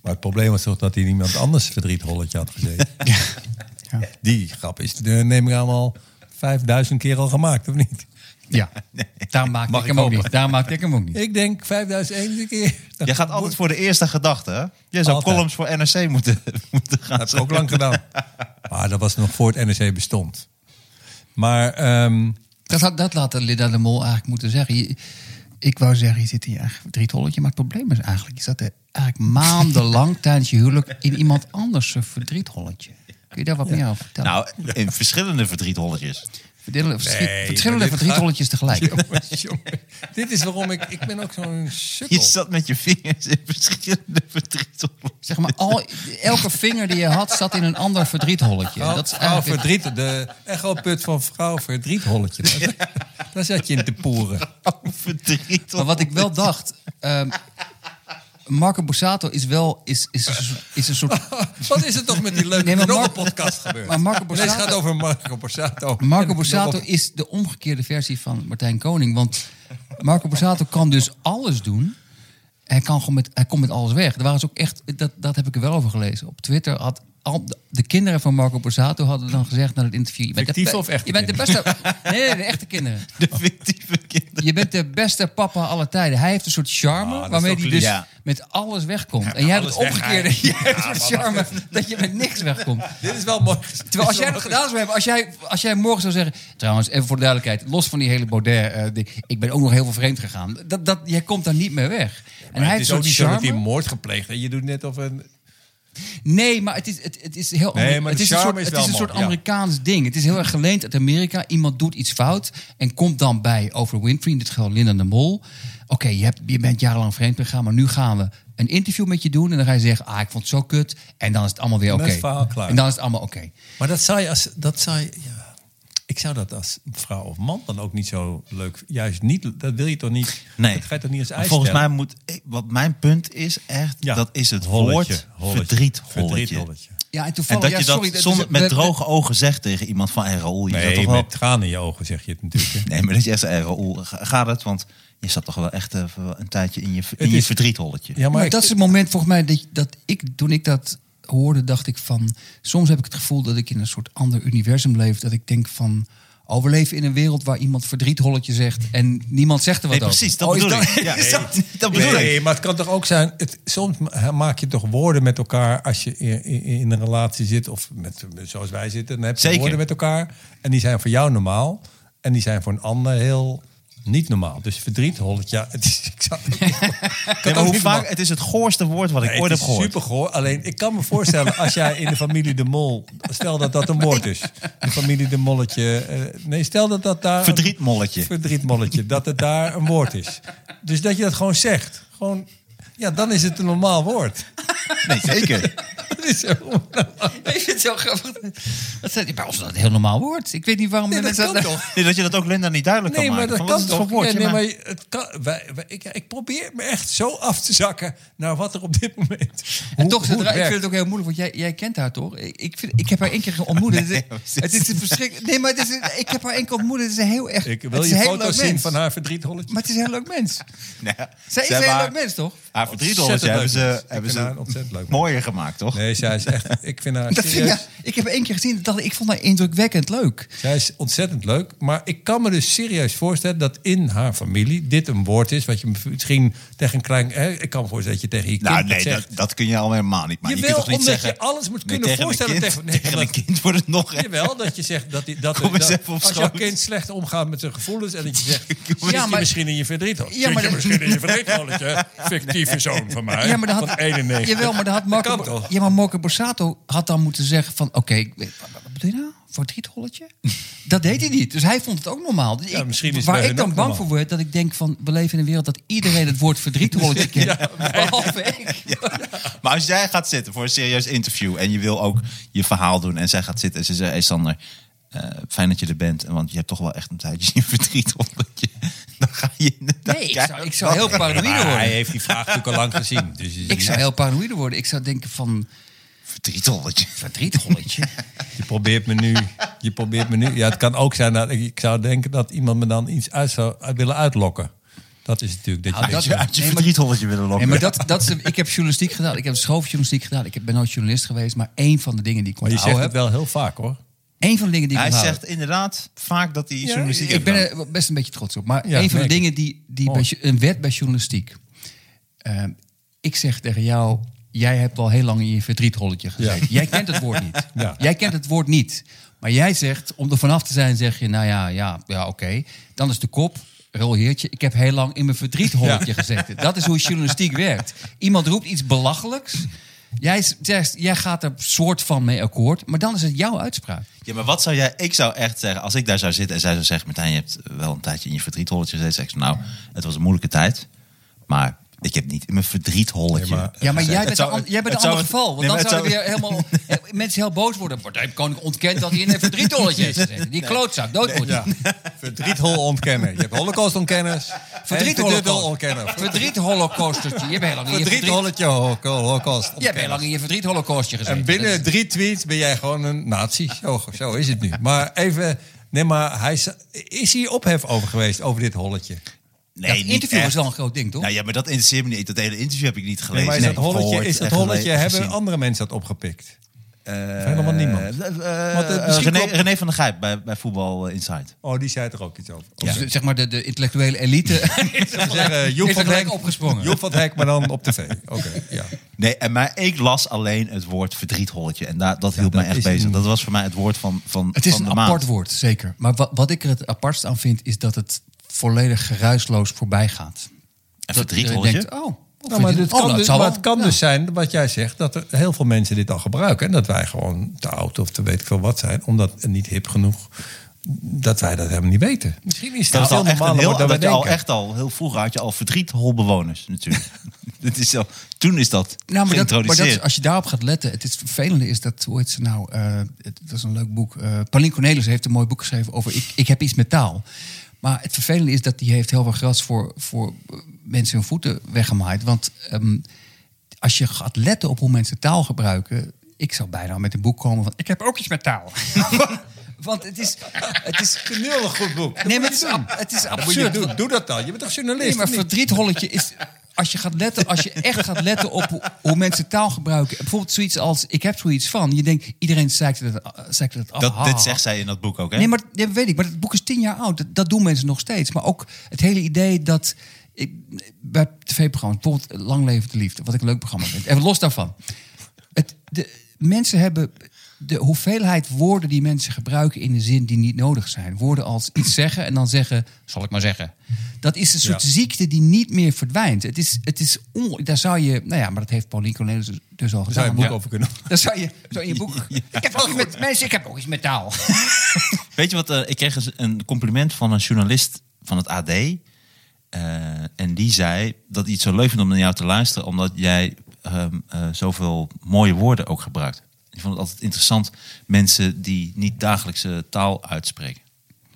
S3: Maar het probleem was toch dat hij iemand anders verdrietholletje had gezeten.
S2: Ja.
S3: Die grap is, eh, neem ik aan, al 5000 keer al gemaakt, of
S1: [LAUGHS]
S3: niet?
S2: Ja, daar maakte
S1: Mag
S2: ik
S1: ik
S2: hem ook
S1: hopen.
S2: niet. Daar maakte ik hem ook
S1: [LAUGHS]
S2: niet.
S3: Ik denk 5001 [LAUGHS] keer.
S1: Jij gaat altijd voor de eerste gedachte, hè? Jij zou
S3: Altijd.
S1: columns voor NRC moeten, [LAUGHS] moeten gaan
S3: Dat heb ik ook lang gedaan. [LAUGHS] Maar dat was nog voor het NRC bestond. Maar ehm,
S2: Dat, had, dat laat Linda de Mol eigenlijk moeten zeggen. Je- ik wou zeggen, je zit in je eigen verdrietholletje. Maar het probleem is eigenlijk, je zat er eigenlijk
S1: [LAUGHS]
S2: maandenlang tijdens je huwelijk in iemand anders zijn verdrietholletje. Kun je daar wat meer over vertellen?
S1: Nou, in verschillende verdrietholletjes.
S2: Verdelen- verschi-
S3: maar
S2: verschillende
S3: dit
S1: [LAUGHS]
S2: verdrietholletjes tegelijk.
S3: jongens, jongen, dit is waarom ik... Ik ben ook zo'n
S1: Je
S3: sukkel.
S1: zat met je vingers in verschillende verdrietholletjes.
S2: Zeg maar, al, elke vinger die je had zat in een ander verdrietholletje.
S3: Vrouw,
S2: Dat is
S3: vrouw
S2: eigenlijk het-
S3: verdriet, de echoput van vrouw verdrietholletje. Daar, daar zat je in te poeren.
S1: Verdriet.
S2: Maar wat ik wel dacht. ehm, Marco Borsato is wel is, is, een soort- is een soort.
S3: [LAUGHS] Wat is er toch met die leuke
S2: Nee, maar Mar-
S3: podcast gebeurd?
S2: Maar Marco
S3: Deze
S2: Borsato-
S3: gaat over Marco Borsato.
S2: Marco Borsato is de omgekeerde versie van Martijn Koning. Want Marco Borsato kan dus alles doen. Hij, kan gewoon met, hij komt met alles weg. Er waren ze ook echt, dat, dat heb ik er wel over gelezen. Op Twitter had al, de- de kinderen van Marco Borsato hadden dan gezegd na het interview... Je bent de
S3: Fictieve
S2: be-
S3: of echte
S2: Je bent de beste... Nee, nee, de echte kinderen.
S1: De fictieve kinderen.
S2: Je bent de beste papa aller tijden. Hij heeft een soort charme
S3: Ah, dat is
S2: waarmee
S3: toch
S2: hij
S3: lief.
S2: dus
S1: Ja.
S2: met alles wegkomt. en jij hebt het
S3: alles
S2: omgekeerde. [LAUGHS]
S3: weg,
S2: Jij hebt een soort charme dat je met niks wegkomt.
S3: Dit is wel mooi. gezien.
S2: Terwijl als
S3: [LAUGHS]
S2: jij dat gedaan zou hebben, als jij, als jij morgen zou zeggen... Trouwens, even voor de duidelijkheid, los van die hele Baudet... eh, ding, ik ben ook nog heel veel vreemd gegaan. Dat, dat, jij komt daar niet meer weg. en hij
S3: Het
S2: heeft
S3: is
S2: een
S3: ook
S2: soort
S3: niet zo dat hij
S2: charme.
S3: moord gepleegd heeft. Je doet net of een...
S2: Nee, maar het is, het, het is heel...
S3: Nee, maar
S2: het
S3: de
S2: is een
S3: charme
S2: soort,
S3: is
S2: het
S3: wel
S2: is een soort
S3: mooi, ja.
S2: Amerikaans ding. Het is heel erg geleend uit Amerika. Iemand doet iets fout en komt dan bij over Winfrey. In dit geval Linda de Mol. Oké, je, hebt- je bent jarenlang vreemd gegaan, maar nu gaan we een interview met je doen. En dan ga je zeggen, ah, ik vond het zo kut. En dan is het allemaal weer
S3: Dan
S2: oké.
S3: is het verhaal klaar.
S2: En dan is het allemaal oké.
S3: Maar dat zou je als... Dat zou je, ja. Ik zou dat als vrouw of man dan ook niet zo leuk... Juist niet... Dat wil je toch niet...
S1: Nee.
S3: Dat ga je toch niet als
S1: Maar
S3: ijs
S1: Volgens mij
S3: stellen?
S1: moet... ik- Wat mijn punt is echt...
S3: Ja.
S1: Dat is het
S3: Holletje,
S1: woord
S3: holletje,
S1: verdrietholletje.
S3: verdrietholletje.
S2: Ja, en
S1: En
S2: toevallig...
S1: dat je
S2: ja,
S1: dat
S2: sorry,
S1: zonder,
S2: is-
S1: met
S2: we- we-
S1: droge ogen zegt tegen iemand van... Hey Raoul, je zat
S3: Nee,
S1: toch wel...
S3: met tranen in je ogen zeg je het natuurlijk. hè.
S1: Nee, maar dat je echt zegt... Hey Raoul, ga- gaat het? Want je zat toch wel echt even wel een tijdje in je, in je
S3: is-
S1: verdrietholletje.
S3: Ja,
S2: Maar,
S3: maar ik-
S2: dat is het moment volgens mij dat, dat ik, toen ik dat hoorde, dacht ik van. Soms heb ik het gevoel dat ik in een soort ander universum leef. Dat ik denk van. Oh, we leven in een wereld waar iemand verdrietholletje zegt en niemand zegt er wat
S1: Nee, precies,
S2: over.
S1: dat
S2: Oh, is
S1: bedoel
S2: [LAUGHS]
S1: ik. Ja,
S2: is
S1: nee. [LAUGHS] Dat bedoel
S3: nee,
S1: ik.
S3: maar het kan toch ook zijn. Het, soms ma- maak je toch woorden met elkaar als je in, in- in een relatie zit. Of met, zoals wij zitten. Dan heb je
S1: Zeker.
S3: woorden met elkaar. En die zijn voor jou normaal. En die zijn voor een ander heel niet normaal. Dus verdriet, hollet, ja. Het is, ik
S1: [LAUGHS]
S3: zou, ik
S1: Nee,
S3: kan
S1: maar
S3: ook
S1: hoe
S3: niet
S1: vaak,
S3: maken.
S1: het is het goorste woord wat ik
S3: Nee,
S1: ooit
S3: het
S1: heb
S3: is
S1: gehoord.
S3: super goor. Alleen ik kan me voorstellen als jij in de familie De Mol. Stel dat dat een woord is. De familie De Molletje. eh, nee, stel dat dat daar.
S1: Verdrietmolletje.
S3: Verdrietmolletje. Dat het daar een woord is. Dus dat je dat gewoon zegt. Gewoon. Ja, dan is het een normaal woord. [LAUGHS]
S1: Nee, zeker.
S3: Dat is zo.
S2: Ik vind het zo grappig. Dat is, bij ons is dat een heel normaal woord. Ik weet niet waarom
S3: Nee,
S2: de
S3: dat
S2: mensen
S3: kan
S2: [LAUGHS]
S3: toch?
S1: Nee, dat je dat ook Linda niet duidelijk
S3: Nee,
S1: kan
S3: maar
S1: maken.
S3: dat
S1: Van, wat
S3: kan
S1: is het
S3: toch?
S1: voor woordje?
S3: Ja, nee,
S1: Maar-
S3: maar het kan, wij, wij- ik, ik probeer me echt zo af te zakken naar wat er op dit moment.
S2: En
S3: hoe-
S2: toch,
S3: hoe
S2: zodra- ik
S3: werkt.
S2: vind het ook heel moeilijk, want jij, jij kent haar toch? Ik, ik, vind, ik heb haar één keer ontmoet. Het is- het is een verschrik. Nee, maar het is, een- ik heb haar één keer ontmoet. Het is een heel erg.
S3: Ik wil
S2: het is
S3: je
S2: een heel
S3: foto's
S2: leuk
S3: zien
S2: mens.
S3: van haar verdrietholletje.
S2: Maar het is een heel leuk mens.
S1: Nee,
S3: [LAUGHS]
S1: ze
S2: Zij is een
S1: hebben
S2: heel
S1: haar-
S2: leuk mens, toch?
S1: Haar verdrietholletje
S3: Ontzettend
S1: hebben
S3: leuk
S1: ze,
S3: mens.
S1: hebben
S3: Ik
S1: ze
S3: vind haar ontzettend leuk mens.
S1: mooier gemaakt, toch?
S3: Nee, zij is echt. Ik vind haar.
S2: Dat vind
S3: serieus-
S2: ik, ik heb haar één keer gezien en dacht ik, ik vond haar indrukwekkend leuk.
S3: Zij is ontzettend leuk. Maar ik kan me dus serieus voorstellen dat in haar familie dit een woord is. Wat je misschien tegen een klein. Hè, ik kan me voorstellen dat je tegen je kind
S1: Nou,
S3: dat
S1: nee, dat,
S3: zegt.
S1: dat kun je al helemaal niet. Maar je,
S3: Jawel,
S1: kunt toch niet
S3: omdat
S1: zeggen...
S3: je alles moet
S1: Nee,
S3: kunnen
S1: tegen
S3: voorstellen
S1: Een kind,
S3: tegen- nee,
S1: tegen
S3: omdat-
S1: een kind wordt het nog erger. [LAUGHS]
S3: Jawel, dat je zegt dat, die- dat,
S1: Kom eens
S3: dat
S1: even op
S3: als jouw
S1: schoot.
S3: kind slecht omgaat met zijn gevoelens en dat je
S1: [LAUGHS]
S3: zegt,
S1: Kom eens
S3: ja,
S2: maar-
S3: maar, misschien in je verdriet hoor.
S2: maar
S3: je
S2: dat- [LAUGHS]
S3: misschien in je verdriet hoor, dat je fictief lieve zoon van mij.
S2: Ja, maar dan
S3: Van
S2: had,
S3: 91.
S2: Jawel, maar dan had Marco,
S3: kan toch?
S2: ja, maar Marco Borsato had dan moeten zeggen van... Oké, ik- wat wat bedoel je nou? Voor het rietrolletje? dat deed hij niet. Dus hij vond het ook normaal. Dus
S3: Ja,
S2: ik-
S3: misschien is het
S2: waar
S3: bij
S2: ik
S3: hun
S2: dan
S3: ook
S2: bang
S3: normaal.
S2: voor word, dat ik denk van... We leven in een wereld dat iedereen het woord verdrietrolletje
S3: [LAUGHS]
S2: kent. behalve ik.
S1: Maar als jij gaat zitten voor een serieus interview en je wil ook je verhaal doen en zij gaat zitten en ze zegt, hey Sander, eh, fijn dat je er bent, en want je hebt toch wel echt een tijdje [LAUGHS] in verdriet omdat je, [LAUGHS] dan ga je inderdaad
S2: Nee, ik
S1: kijken
S2: zou, ik zou
S1: wat-
S2: heel paranoïde
S3: Maar hij
S2: worden.
S3: heeft die vraag natuurlijk al lang gezien. Dus
S2: Ik zou heel paranoïde worden. Ik zou denken van...
S1: verdriet omdat je-
S2: Verdrietrolletje?
S3: [LAUGHS] Je probeert me nu. Je probeert me nu. Ja, het kan ook zijn dat ik, ik zou denken dat iemand me dan iets uit zou uit willen uitlokken. Dat is natuurlijk Ah, dat
S2: Nou,
S3: je denkt,
S2: dat-
S3: ja,
S1: uit je
S2: Nee, maar-
S1: verdriet omdat je willen lokken.
S2: Nee, maar dat, dat is, ik heb journalistiek gedaan. Ik heb schooljournalistiek gedaan. Ik heb- ben nooit journalist geweest. Maar één van de dingen die ik
S3: maar je
S2: onthouden
S3: zegt
S2: heb...
S3: het wel heel vaak hoor.
S2: Eén van de dingen die ik
S1: hij
S2: onthouden
S1: zegt inderdaad vaak dat hij journalistiek
S2: Ik
S1: heeft gedaan.
S2: ben er best een beetje trots op. Maar
S3: Ja,
S2: een van de
S3: merk
S2: dingen die, die bij,
S3: Mooi.
S2: jo- een wet bij journalistiek. Ehm, ik zeg tegen jou, jij hebt al heel lang in je verdrietholletje gezeten. Jij kent het
S3: [LAUGHS]
S2: woord niet.
S3: Ja.
S2: Jij kent het woord niet. Maar jij zegt, om er vanaf te zijn, zeg je, nou ja, ja, ja oké. Dan is de kop, rol heertje, ik heb heel lang in mijn verdrietholletje gezeten. Dat is hoe journalistiek werkt. Iemand roept iets belachelijks. Jij zegt, jij gaat er soort van mee akkoord. Maar dan is het jouw uitspraak.
S1: Ja, maar wat zou jij... Ik zou echt zeggen, als ik daar zou zitten en zij zou zeggen... Martijn, je hebt wel een tijdje in je verdrietholletje gezeten. Zeg ik zo, nou, het was een moeilijke tijd. Maar ik heb niet in mijn verdrietholletje
S3: Nee, maar-
S2: Ja, maar
S1: gezeten.
S2: jij
S1: Het
S2: bent,
S1: zou-
S2: een an- jij bent
S1: het
S2: een ander
S1: zou-
S2: geval. Want
S1: Nee, maar
S2: dan
S1: het
S2: zouden
S1: zou-
S2: weer
S1: [LAUGHS]
S2: helemaal eh, mensen heel boos worden. Partij Koning ontkent dat hij in een verdrietolletje heeft gezeten. Die klootzak, dood moet hij.
S3: Verdriethol ontkennen. Je hebt holocaust ontkenners.
S2: Verdrietholocaust.
S3: ontkennen.
S2: Verdrietholocaustetje. Je hebt heel lang in je verdriet-
S3: Verdrietholletje holocaust
S2: je hebt heel lang in je verdrietholocaustje gezeten.
S3: En binnen drie tweets ben jij gewoon een nazi. Zo, zo is het nu. Maar even... Nee, maar hij, is- is hier ophef over geweest, over dit holletje?
S2: Dat
S1: Nee, niet
S2: interview was
S1: echt.
S2: wel een groot ding, toch?
S1: Nou ja, maar dat interesseert me niet. Dat hele interview heb ik niet
S3: Nee,
S1: gelezen.
S3: maar is dat holletje, is dat holletje hebben andere mensen dat opgepikt? helemaal niemand. Want, eh, misschien
S1: René,
S3: klopt-
S1: René van der Gijp bij, bij Voetbal eh, Insight.
S3: Oh, die zei er ook iets over.
S2: Dus de- zeg maar de, de intellectuele
S1: [LAUGHS]
S2: elite is er
S3: Zeg, eh,
S2: gelijk-
S3: Joep
S2: is er
S3: van
S2: gelijk
S3: Hek
S2: opgesprongen.
S3: Joep van Hek, maar dan op tv. Oké, ja.
S1: Nee, en maar ik las alleen het woord verdrietholletje. En daar, dat hield
S3: dat
S1: mij echt
S3: is
S1: bezig.
S3: een-
S1: Dat was voor mij het woord van, van,
S2: Het is
S1: van
S2: een
S1: de maand.
S2: apart woord, zeker. Maar wat, wat ik er het apartst aan vind, is dat het volledig geruisloos voorbij gaat.
S1: Een
S2: Dat je
S1: verdrietholletje?
S2: denkt, oh,
S3: [LAUGHS] Nou, maar het
S2: verdriet- oh,
S3: kan,
S2: dat
S3: dus,
S2: zal
S3: maar
S2: wel.
S3: het kan
S2: Ja.
S3: dus zijn, wat jij zegt, dat er heel veel mensen dit al gebruiken. En dat wij gewoon te oud of te weet ik veel wat zijn, omdat en niet hip genoeg, dat wij dat helemaal niet weten. Misschien is
S1: Dat, is
S3: dat,
S1: al
S3: heel
S1: echt
S3: normaal
S1: een heel,
S3: dan wij
S1: dat je al
S3: denken.
S1: echt al heel vroeger had je al verdrietholbewoners natuurlijk. [LAUGHS] dat is al, toen is dat
S2: Nou, maar, dat, maar dat
S1: geïntroduceerd.
S2: is, als je daarop gaat letten, het is het vervelende is dat, hoe heet ze nou, eh, het, dat is een leuk boek. Eh Pauline Cornelis heeft een mooi boek geschreven over ik, ik heb iets met taal. Maar het vervelende is dat die heeft heel veel gras voor, voor eh, mensen hun voeten weggemaaid. Want ehm, als je gaat letten op hoe mensen taal gebruiken, ik zou bijna met een boek komen van ik heb ook iets met taal. [LAUGHS] Want het is, het is
S3: Heel goed boek.
S2: Nee, maar het is, ab- het is absurd.
S3: Absurd, doe, doe dat dan. Je bent toch journalist?
S2: Nee, maar
S3: of niet?
S2: verdrietholletje is... Als je, gaat letten, als je echt gaat letten op hoe, hoe mensen taal gebruiken. Bijvoorbeeld zoiets als, ik heb zoiets van. Je denkt, iedereen zeikt dat, eh, zeikt dat af.
S1: dat,
S2: Ha,
S1: dit
S2: ha,
S1: zegt zij in dat boek ook, hè?
S2: Nee, maar dat weet ik. Maar het boek is tien jaar oud. Dat, dat doen mensen nog steeds. Maar ook het hele idee dat ik, bij tv-programma's, bijvoorbeeld Lang Leven de Liefde, wat ik een leuk programma vind. Even los daarvan. Het, de, mensen hebben de hoeveelheid woorden die mensen gebruiken in een zin die niet nodig zijn. Woorden als iets zeggen en dan zeggen, zal ik maar zeggen. Dat is een soort
S3: Ja.
S2: ziekte die niet meer verdwijnt. Het is, het is on, daar zou je, nou ja, maar dat heeft Pauline Cornelis dus- dus al gedaan.
S3: zou je een boek
S2: Ja.
S3: over kunnen-
S2: Daar zou je, zou je een
S3: [LAUGHS]
S2: boek. Ik heb ook iets met mensen, ik heb ook iets met taal.
S1: Weet je wat, eh, ik kreeg eens een compliment van een journalist van het AD. Eh, en die zei dat hij het zo leuk vindt om naar jou te luisteren... omdat jij ehm, eh, zoveel mooie woorden ook gebruikt. Ik vond het altijd interessant, mensen die niet dagelijkse taal uitspreken.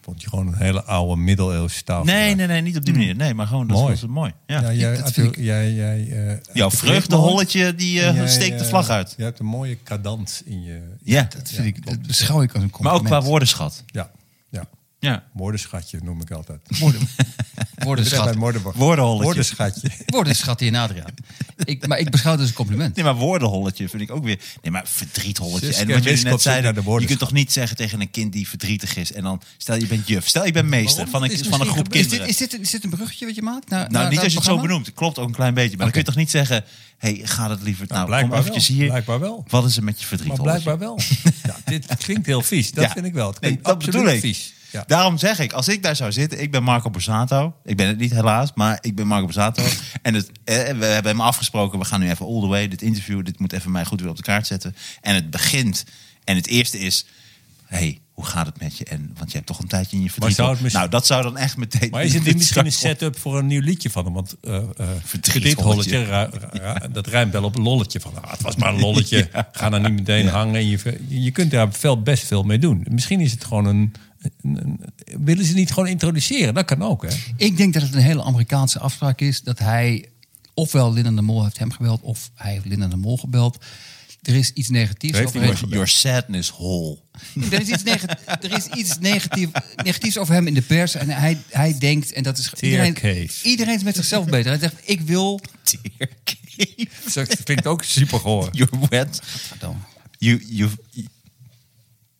S3: Vond je gewoon een hele oude middeleeuwse taal.
S1: Nee, nee, nee, niet op die manier. Nee, maar gewoon, dat
S3: Mooi.
S1: was het mooi. Ja.
S3: Ja, jij,
S2: dat vind
S3: Arthur, jij, jij, eh,
S1: Jouw
S3: Arthur Eekman,
S1: vreugdeholletje, die eh,
S3: en jij,
S1: steekt de
S3: eh,
S1: vlag uit.
S3: Je hebt een mooie cadans in je...
S1: Ja,
S2: Dat, vind ik, dat beschouw ik als een
S1: maar ook
S2: compliment.
S1: qua woordenschat.
S3: Ja, ja.
S1: Ja.
S3: Moordenschatje noem ik altijd.
S1: [LAUGHS]
S2: woorden.
S3: Zeg maar
S2: Woordenschat. [LAUGHS]
S3: moordenbo-
S1: Woordenholletje. [LAUGHS]
S3: Woordenschatje.
S2: Woordenschat hier in Adriaan. Ik, maar ik beschouw het als een compliment.
S1: Nee, maar woordenholletje vind ik ook weer. Nee, maar verdrietholletje.
S3: Suske
S1: en wat jullie
S3: Wiskop
S1: net
S3: zit naar de
S1: zeiden, je
S3: woordenschat.
S1: kunt toch niet zeggen tegen een kind die verdrietig is. En dan, stel je bent juf. Stel je bent meester
S3: Waarom?
S1: van
S3: Dat
S1: een,
S3: is
S1: van een
S3: misschien
S1: groep
S2: Is
S1: kinderen.
S2: dit, is, dit, is dit een bruggetje wat je maakt? Naar,
S1: nou,
S2: naar-
S1: niet
S2: naar
S1: als je het zo
S2: programma?
S1: benoemt. Klopt ook een klein beetje. Maar dan
S2: Oké.
S1: kun je toch niet zeggen, hey, ga dat liever. Nou, kom
S3: blijkbaar
S1: eventjes
S3: wel.
S1: hier.
S3: Blijkbaar wel.
S1: Wat is er met je
S3: Maar
S1: verdrietholletje?
S3: blijkbaar wel. Ja, dit klinkt heel vies. Dat
S1: Ja.
S3: vind ik wel. Het
S1: Nee,
S3: klinkt
S1: dat
S3: absoluut
S1: bedoel ik.
S3: vies. Ja.
S1: Daarom zeg ik, als ik daar zou zitten, ik ben Marco Borsato. Ik ben het niet helaas, maar ik ben Marco
S3: [LAUGHS]
S1: Borsato. en het, eh, we hebben hem afgesproken, we gaan nu even all the way. Dit interview, dit moet even mij goed weer op de kaart zetten. En het begint. En het eerste is, hey, hoe gaat het met je? En, want je hebt toch een tijdje in je verdriet.
S3: zou het
S1: hoor.
S3: misschien-
S1: Nou, dat zou dan echt meteen...
S3: Maar is
S1: [LAUGHS]
S3: het niet misschien een
S1: set?
S3: setup voor een nieuw liedje van hem? Want eh eh
S1: Verdrietholletje.
S3: verdrietholletje, ra- ra- ra- dat rijmt wel op lolletje. Van, ah, het was maar een
S1: [LAUGHS]
S3: lolletje. Ga daar niet meteen hangen. En je, ver- je kunt daar veel, best veel mee doen. Misschien is het gewoon een... een- een- willen ze niet gewoon introduceren? Dat kan ook, hè?
S2: Ik denk dat het een hele Amerikaanse afspraak is dat hij ofwel Linda de Mol heeft hem gebeld of hij heeft Linda de Mol gebeld. Er is iets negatiefs.
S3: Heeft
S2: over
S3: hij
S2: hem.
S3: nooit
S1: Your sadness hole. [LAUGHS]
S2: Er is iets, nega- er is iets negatief, negatiefs over hem in de pers. En hij, hij denkt, en dat is iedereen,
S3: Tearcave.
S2: iedereen is met zichzelf beter. Hij zegt, ik wil...
S1: Dear Keith,
S3: Dat vind ik ook super
S1: [LAUGHS]
S3: goor.
S1: You're wet. you you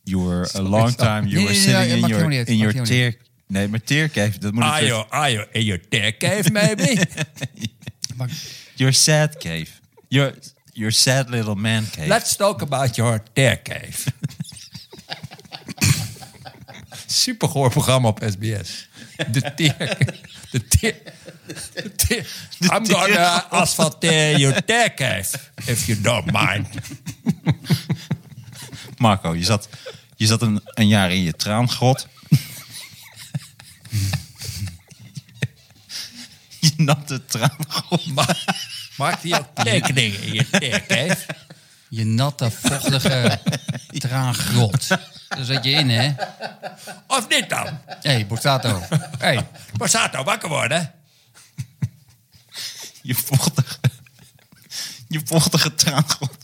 S1: you're a long time you
S2: Nee,
S1: were
S2: nee, nee,
S1: sitting
S2: nee,
S1: in
S2: maakt
S1: your
S2: helemaal niet Ah, uit,
S1: in your
S2: maakt helemaal
S1: tear nee maar tear cave dat moet het
S3: Ajo, ajo, en je tek heeft maybe.
S2: Maar
S1: your sad cave your your sad little man cave
S3: Let's talk about your tek cave. Super goor programma op SBS. De tek. De tek. de tek- I'm gonna asfalteer your tek cave. If you don't mind.
S1: Marco je zat je zat een, een jaar in je traangrot [LAUGHS] je natte traangrot
S3: Ma- Maak die ook tekeningen in je tek cave.
S2: je natte, vochtige traangrot. Daar zat je in, hè? Hé,
S3: Of niet dan?
S2: hey, Borsato. Hey.
S3: Borsato, wakker worden.
S1: je vochtige je vochtige traangrot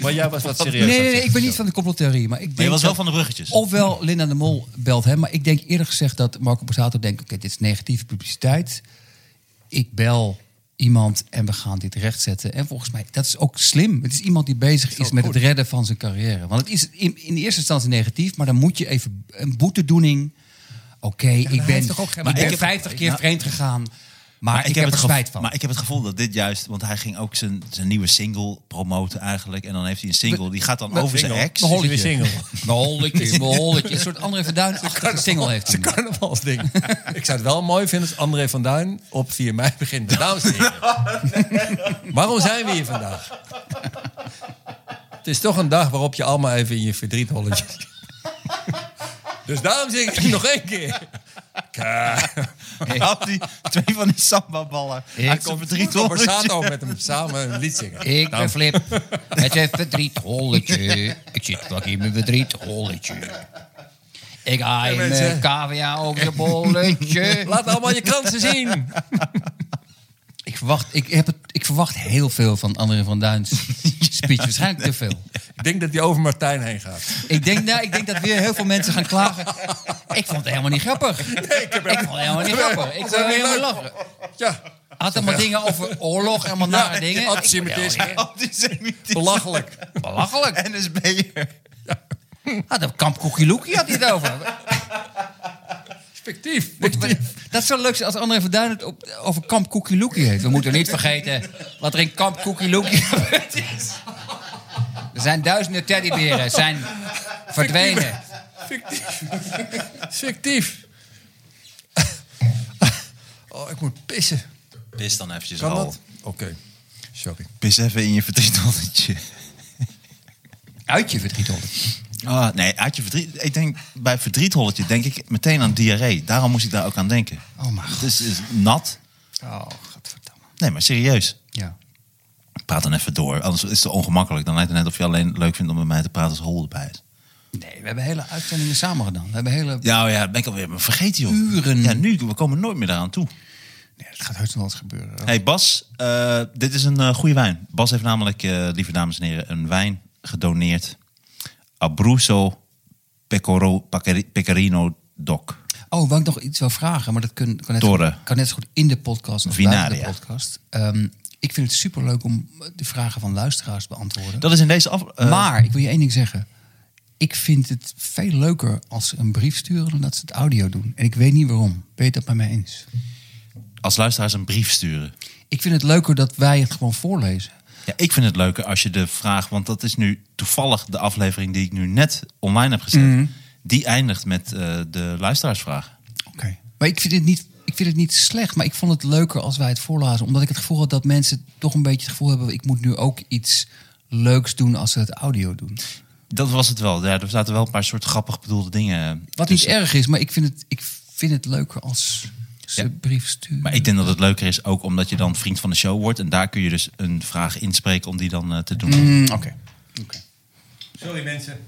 S3: Maar jij was wat
S2: Nee,
S3: serieus.
S2: nee, nee, ik ben niet van de complottheorie. Maar ik denk
S1: maar je was wel
S2: dat-
S1: van de bruggetjes
S2: Ofwel Linda de Mol belt hem. Maar ik denk eerlijk gezegd dat Marco Borsato denkt... oké, dit is negatieve publiciteit. Ik bel iemand en we gaan dit rechtzetten. En volgens mij, dat is ook slim. Het is iemand die bezig is met het redden van zijn carrière. Want het is in, in eerste instantie negatief... maar dan moet je even een boetedoening... Oké, ik ben,
S3: heeft toch ook geen-
S2: ik
S3: Maar
S2: ben
S3: ik heb-
S2: 50 keer vreemd gegaan... maar, ik, heb er
S1: gevo-
S2: spijt van.
S1: Maar ik heb het gevoel dat dit juist... Want hij ging ook zijn, zijn nieuwe single promoten eigenlijk. En dan heeft hij een single. Die gaat dan over zijn ex. [LAUGHS]
S3: Mijn holletje. single.
S2: [LAUGHS] Mijn holletje,
S3: [LAUGHS]
S2: mijn holletje. Een soort André van Duin een single heeft hij.
S3: Zijn carnavalsding. ik zou het wel mooi vinden als André van Duin op 4 mei
S2: [LAUGHS]
S3: begint met dames en heren. [LAUGHS] Waarom zijn we hier vandaag? Het is toch een dag waarop je allemaal even in je verdriet holletje. [LAUGHS] dus daarom zing ik het nog één keer.
S1: Hij Had die twee van die samba-ballen. Hij kon met drie
S3: Tom
S1: rolletjes. [LAUGHS]
S3: Borsato met hem samen een lied zingen.
S2: Ik ben Flip. Het is een verdrietholletje. Ik zit vlak in mijn verdrietholletje. Ik haai
S3: Hey,
S2: mijn
S3: mensen.
S2: cavia over je bolletje.
S3: [LAUGHS] Laat allemaal je kransen zien.
S2: Ik verwacht, ik, heb het, ik verwacht heel veel van André van
S3: [LAUGHS]
S2: Duins speech. Waarschijnlijk te veel.
S3: Ik denk dat hij over Martijn heen gaat.
S2: Ik denk, nou, ik denk dat weer heel veel mensen gaan klagen. Ik vond het helemaal niet grappig. ik, vond het helemaal niet grappig. Ik kon helemaal lachen.
S3: Ja,
S2: Had allemaal dingen over oorlog, allemaal nare dingen.
S3: antisemitisme.
S1: Antisemitisme.
S3: Belachelijk.
S2: Belachelijk.
S1: NSB'er.
S2: Had een kamp Koekieloekie had hij het over.
S3: Fictief.
S2: Dat zou leuk zijn als André van Duin het op, over kamp Koekieloekie heeft. We moeten niet vergeten wat er in kamp Koekieloekie [LAUGHS] gebeurd is. Er zijn duizenden teddyberen, zijn verdwenen.
S3: Fictief. Fictief. Oh, ik moet pissen.
S1: Pis dan eventjes
S3: Kan
S1: al.
S3: dat? Oké. Sorry.
S1: Pis even in je verdrietholletje.
S2: Uit je verdrietolder.
S1: Ah, [LAUGHS] nee, uit je verdriet. Ik denk bij verdrietholletje denk ik meteen aan diarree. Daarom moest ik daar ook aan denken.
S2: Oh, mijn
S1: Het is, is nat.
S2: Oh, godverdamme.
S1: Nee, maar serieus.
S2: Ja.
S1: Praat dan even door. Anders is het ongemakkelijk. Dan lijkt het net of je alleen leuk vindt om met mij te praten als Hol erbij is.
S2: Nee, we hebben hele uitzendingen samen gedaan. We hebben hele...
S1: Ja, oh ja, dat ben ik alweer maar vergeten, joh.
S2: Uren.
S1: Ja, nu, we komen nooit meer daaraan toe.
S2: Nee, dat gaat heus nog wel eens gebeuren.
S1: hey Bas, eh, dit is een eh, goede wijn. Bas heeft namelijk, eh, lieve dames en heren, een wijn gedoneerd. Abruzzo Pecoro, Pacari- Pecorino Doc.
S2: Oh, wou ik nog iets wil vragen, maar dat kun- kan, net,
S1: Torre.
S2: kan net zo goed in de podcast of
S1: Vinaria.
S2: buiten de podcast. Ehm, ik vind het superleuk om de vragen van luisteraars te beantwoorden.
S1: Dat is in deze af... eh,
S2: maar ik wil je één ding zeggen. Ik vind het veel leuker als ze een brief sturen dan dat ze het audio doen. En ik weet niet waarom. Ben je dat met mij eens?
S1: Als luisteraars een brief sturen.
S2: Ik vind het leuker dat wij het gewoon voorlezen.
S1: Ja, ik vind het leuker als je de vraag, want dat is nu toevallig de aflevering die ik nu net online heb gezet. Die eindigt met eh, de luisteraarsvraag.
S2: Oké. Maar ik vind, het niet, ik vind het niet slecht, maar ik vond het leuker als wij het voorlazen. Omdat ik het gevoel had dat mensen toch een beetje het gevoel hebben... ik moet nu ook iets leuks doen als ze het audio doen.
S1: Dat was het wel. Ja, er zaten wel een paar soort grappig bedoelde dingen.
S2: Wat niet
S1: tussen.
S2: erg is, maar ik vind het, ik vind het leuker als ze
S1: Ja.
S2: brief sturen.
S1: Maar ik denk dat het leuker is ook omdat je dan vriend van de show wordt. En daar kun je dus een vraag inspreken om die dan eh, te doen.
S2: Mm, Oké.
S3: Sorry mensen.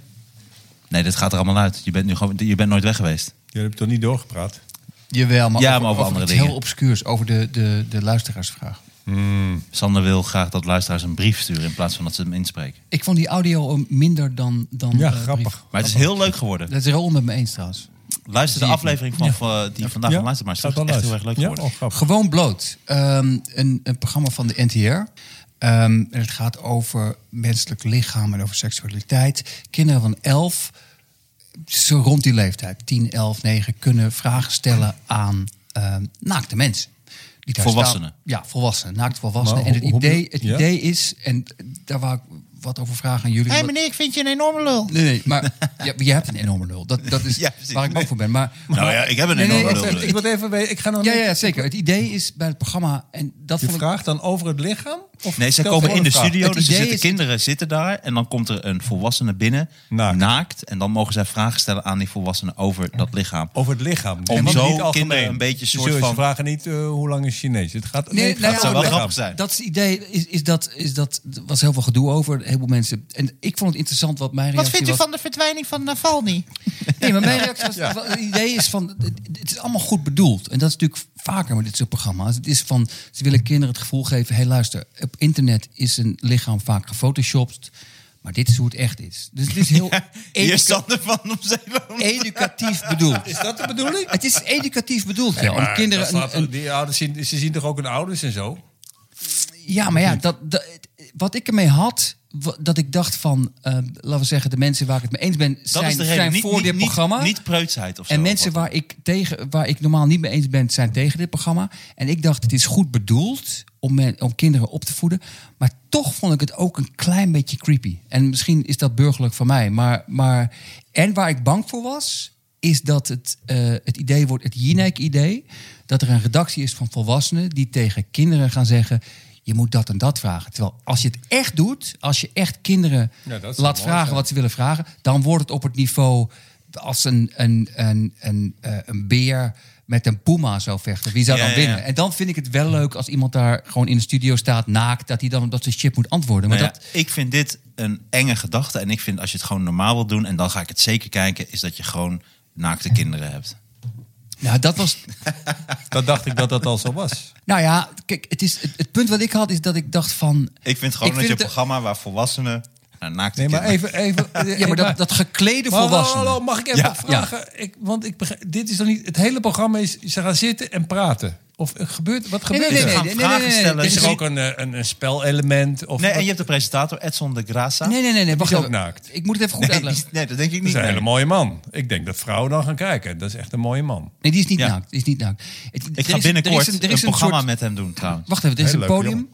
S1: Nee, dit gaat er allemaal uit. Je bent nu gewoon, je bent nooit weg geweest.
S3: Jullie hebben toch niet
S1: Ah,
S3: doorgepraat?
S2: Jawel, maar
S1: Ja,
S2: over,
S1: maar over andere
S2: iets
S1: dingen.
S2: heel obscuurs. Over de, de, de luisteraarsvraag.
S1: Sander wil graag dat luisteraars een brief sturen in plaats van dat ze hem inspreken.
S2: Ik vond die audio minder dan... dan
S3: Ja,
S2: eh,
S3: grappig.
S2: brief.
S1: Maar het is heel leuk geworden.
S2: Dat is Roel met me eens trouwens.
S1: Luister de aflevering van eh, die vandaag van luistert, maar het is echt heel erg leuk geworden.
S3: Ja, oh, grappig.
S2: Gewoon bloot. Ehm, een, een programma van de NTR. Ehm, en het gaat over menselijk lichaam en over seksualiteit. Kinderen van 11, zo rond die leeftijd, 10, 11, 9, kunnen vragen stellen aan ehm, naakte mensen. Die daar
S1: Volwassenen.
S2: staan. Ja, volwassenen, naakt volwassenen.
S3: Maar
S2: en het
S3: hoe- hoe-
S2: idee, het
S3: ja?
S2: idee is, en daar wou ik wat over vragen aan jullie. omdat-
S1: ik vind je een enorme lul.
S2: Nee, nee, maar [LAUGHS] ja, je hebt een enorme lul. Dat, dat
S1: [LAUGHS]
S2: is
S1: Ja, precies.
S2: waar ik bang voor ben. Maar,
S1: Nou ja, ik heb een
S2: Nee, nee,
S1: enorme
S2: ik-
S1: lul.
S3: Ik wil even weten, ik ga nog
S2: ja,
S3: niet-
S2: ja, zeker. Het idee is bij het programma... En dat
S3: Je
S2: vond ik-
S3: vraagt dan over het lichaam? Of
S1: Nee, ze
S3: stelt
S1: komen
S3: gewoon
S1: in de
S3: een vraag?
S1: studio,
S2: Het
S1: dus er
S2: idee
S1: zitten
S2: is-
S1: kinderen zitten daar en dan komt er een volwassene binnen, naakt.
S3: Naakt.
S1: en dan mogen zij vragen stellen aan die volwassene over dat lichaam.
S3: Over het lichaam.
S1: Om
S3: want
S1: zo
S3: niet algemeen.
S1: kinderen een beetje
S3: Ze
S1: soort
S3: zullen-
S1: van- [LAUGHS]
S3: Ze Dus vragen niet eh, hoe lang is Chinees. Het gaat,
S2: Nee,
S3: het
S2: nou
S3: gaat
S2: ja,
S1: zou wel
S3: over het
S1: grappig
S3: lichaam.
S1: zijn.
S2: Dat is het idee. Is, is dat, is dat, er was heel veel gedoe over. Een heleboel mensen. En ik vond het interessant wat mijn reactie was.
S1: de verdwijning van eh, Navalny?
S2: Nee, maar
S1: [LAUGHS]
S2: mijn reactie was... wat Het idee is van... Het, het is allemaal goed bedoeld. En dat is natuurlijk vaker met dit soort programma's. Het is van... Ze willen kinderen het gevoel geven... Hé, hey, luister. Op internet is een lichaam vaak gefotoshopt. Maar dit is hoe het echt is. Dus het is
S1: [LAUGHS]
S2: heel...
S1: Hier
S2: educa-
S1: stond er van om Zeeland.
S2: educatief bedoeld. Is dat de bedoeling? Het is educatief bedoeld, ja. om kinderen
S3: Dat
S2: een-
S3: laat-
S2: een,
S3: die ouders zien, ze zien toch ook hun ouders en zo?
S2: Ja, maar ja, dat, dat- wat ik ermee had, wa- dat ik dacht van, eh, laten we zeggen, de mensen waar ik het mee eens ben,
S1: Dat is
S2: zijn,
S1: de reden.
S2: zijn
S1: Niet,
S2: voor
S1: niet,
S2: dit
S1: niet-
S2: programma.
S1: Niet preutsheid of zo.
S2: en mensen
S1: Wat-
S2: waar ik, tegen, waar ik normaal niet mee eens ben, zijn tegen dit programma. En ik dacht, het is goed bedoeld om, men- om kinderen op te voeden. Maar toch vond ik het ook een klein beetje creepy. En misschien is dat burgerlijk van mij. Maar, maar, en waar ik bang voor was, is dat het, eh, het idee wordt, het Jinek-idee... dat er een redactie is van volwassenen die tegen kinderen gaan zeggen... je moet dat en dat vragen. Terwijl als je het echt doet, als je echt kinderen
S3: Ja, dat zou
S2: laat
S3: mooi
S2: vragen...
S3: zijn.
S2: wat wat ze willen vragen, dan wordt het op het niveau als een, een, een, een, eh, een beer met een puma zou vechten. Wie zou
S1: Ja,
S2: dan
S1: ja, ja.
S2: winnen? En dan vind ik het wel leuk als iemand daar gewoon in de studio staat naakt, dat hij dan op dat soort shit moet antwoorden. Maar
S1: Nou ja,
S2: dat,
S1: Ik vind dit een enge gedachte. En ik vind als je het gewoon normaal wilt doen, en dan ga ik het zeker kijken, is dat je gewoon naakte kinderen hebt.
S2: nou, dat was.
S3: Dat dacht ik dat dat al zo was.
S2: Nou ja, kijk, het, is, het, het punt wat ik had is dat ik dacht van.
S1: [LAUGHS] Ik vind gewoon
S2: Ik
S1: dat je een
S2: vind het-
S1: programma waar volwassenen naar naakte
S3: Nee, maar
S1: kinderen...
S3: even... even
S2: Ja, maar dat, dat geklede
S3: [LAUGHS] Hallo,
S2: volwassenen.
S3: hallo, mag ik even
S1: Ja.
S3: wat vragen? Ik, want ik begrijp, dit is dan niet... Het hele programma is, ze gaan zitten en praten. Of eh, gebeurt, wat gebeurt
S1: nee,
S3: er?
S1: nee, gaan vragen stellen.
S2: dit
S3: Is
S2: is-
S3: er ook een, eh, een, een spelelement? Of
S1: Nee,
S3: wat?
S1: en je hebt de presentator Edson de Graça.
S2: Nee, nee, nee, nee, wacht
S3: is ook
S2: even.
S3: naakt.
S2: Ik moet het even goed
S1: Nee,
S2: uitleggen.
S1: die- nee, dat denk ik
S3: dat
S1: niet.
S3: is een
S1: nee.
S3: hele mooie man. Ik denk dat vrouwen dan gaan kijken. Dat is echt een mooie man.
S2: Nee, die is niet
S1: Ja.
S2: naakt. Die is niet naakt. Het- er
S1: Ik
S2: is-
S1: ga
S2: er is
S1: binnenkort
S2: er
S1: een,
S2: is soort-
S1: programma met hem doen trouwens.
S2: Wacht even, er is
S3: Hele
S2: een
S3: leuke
S2: podium.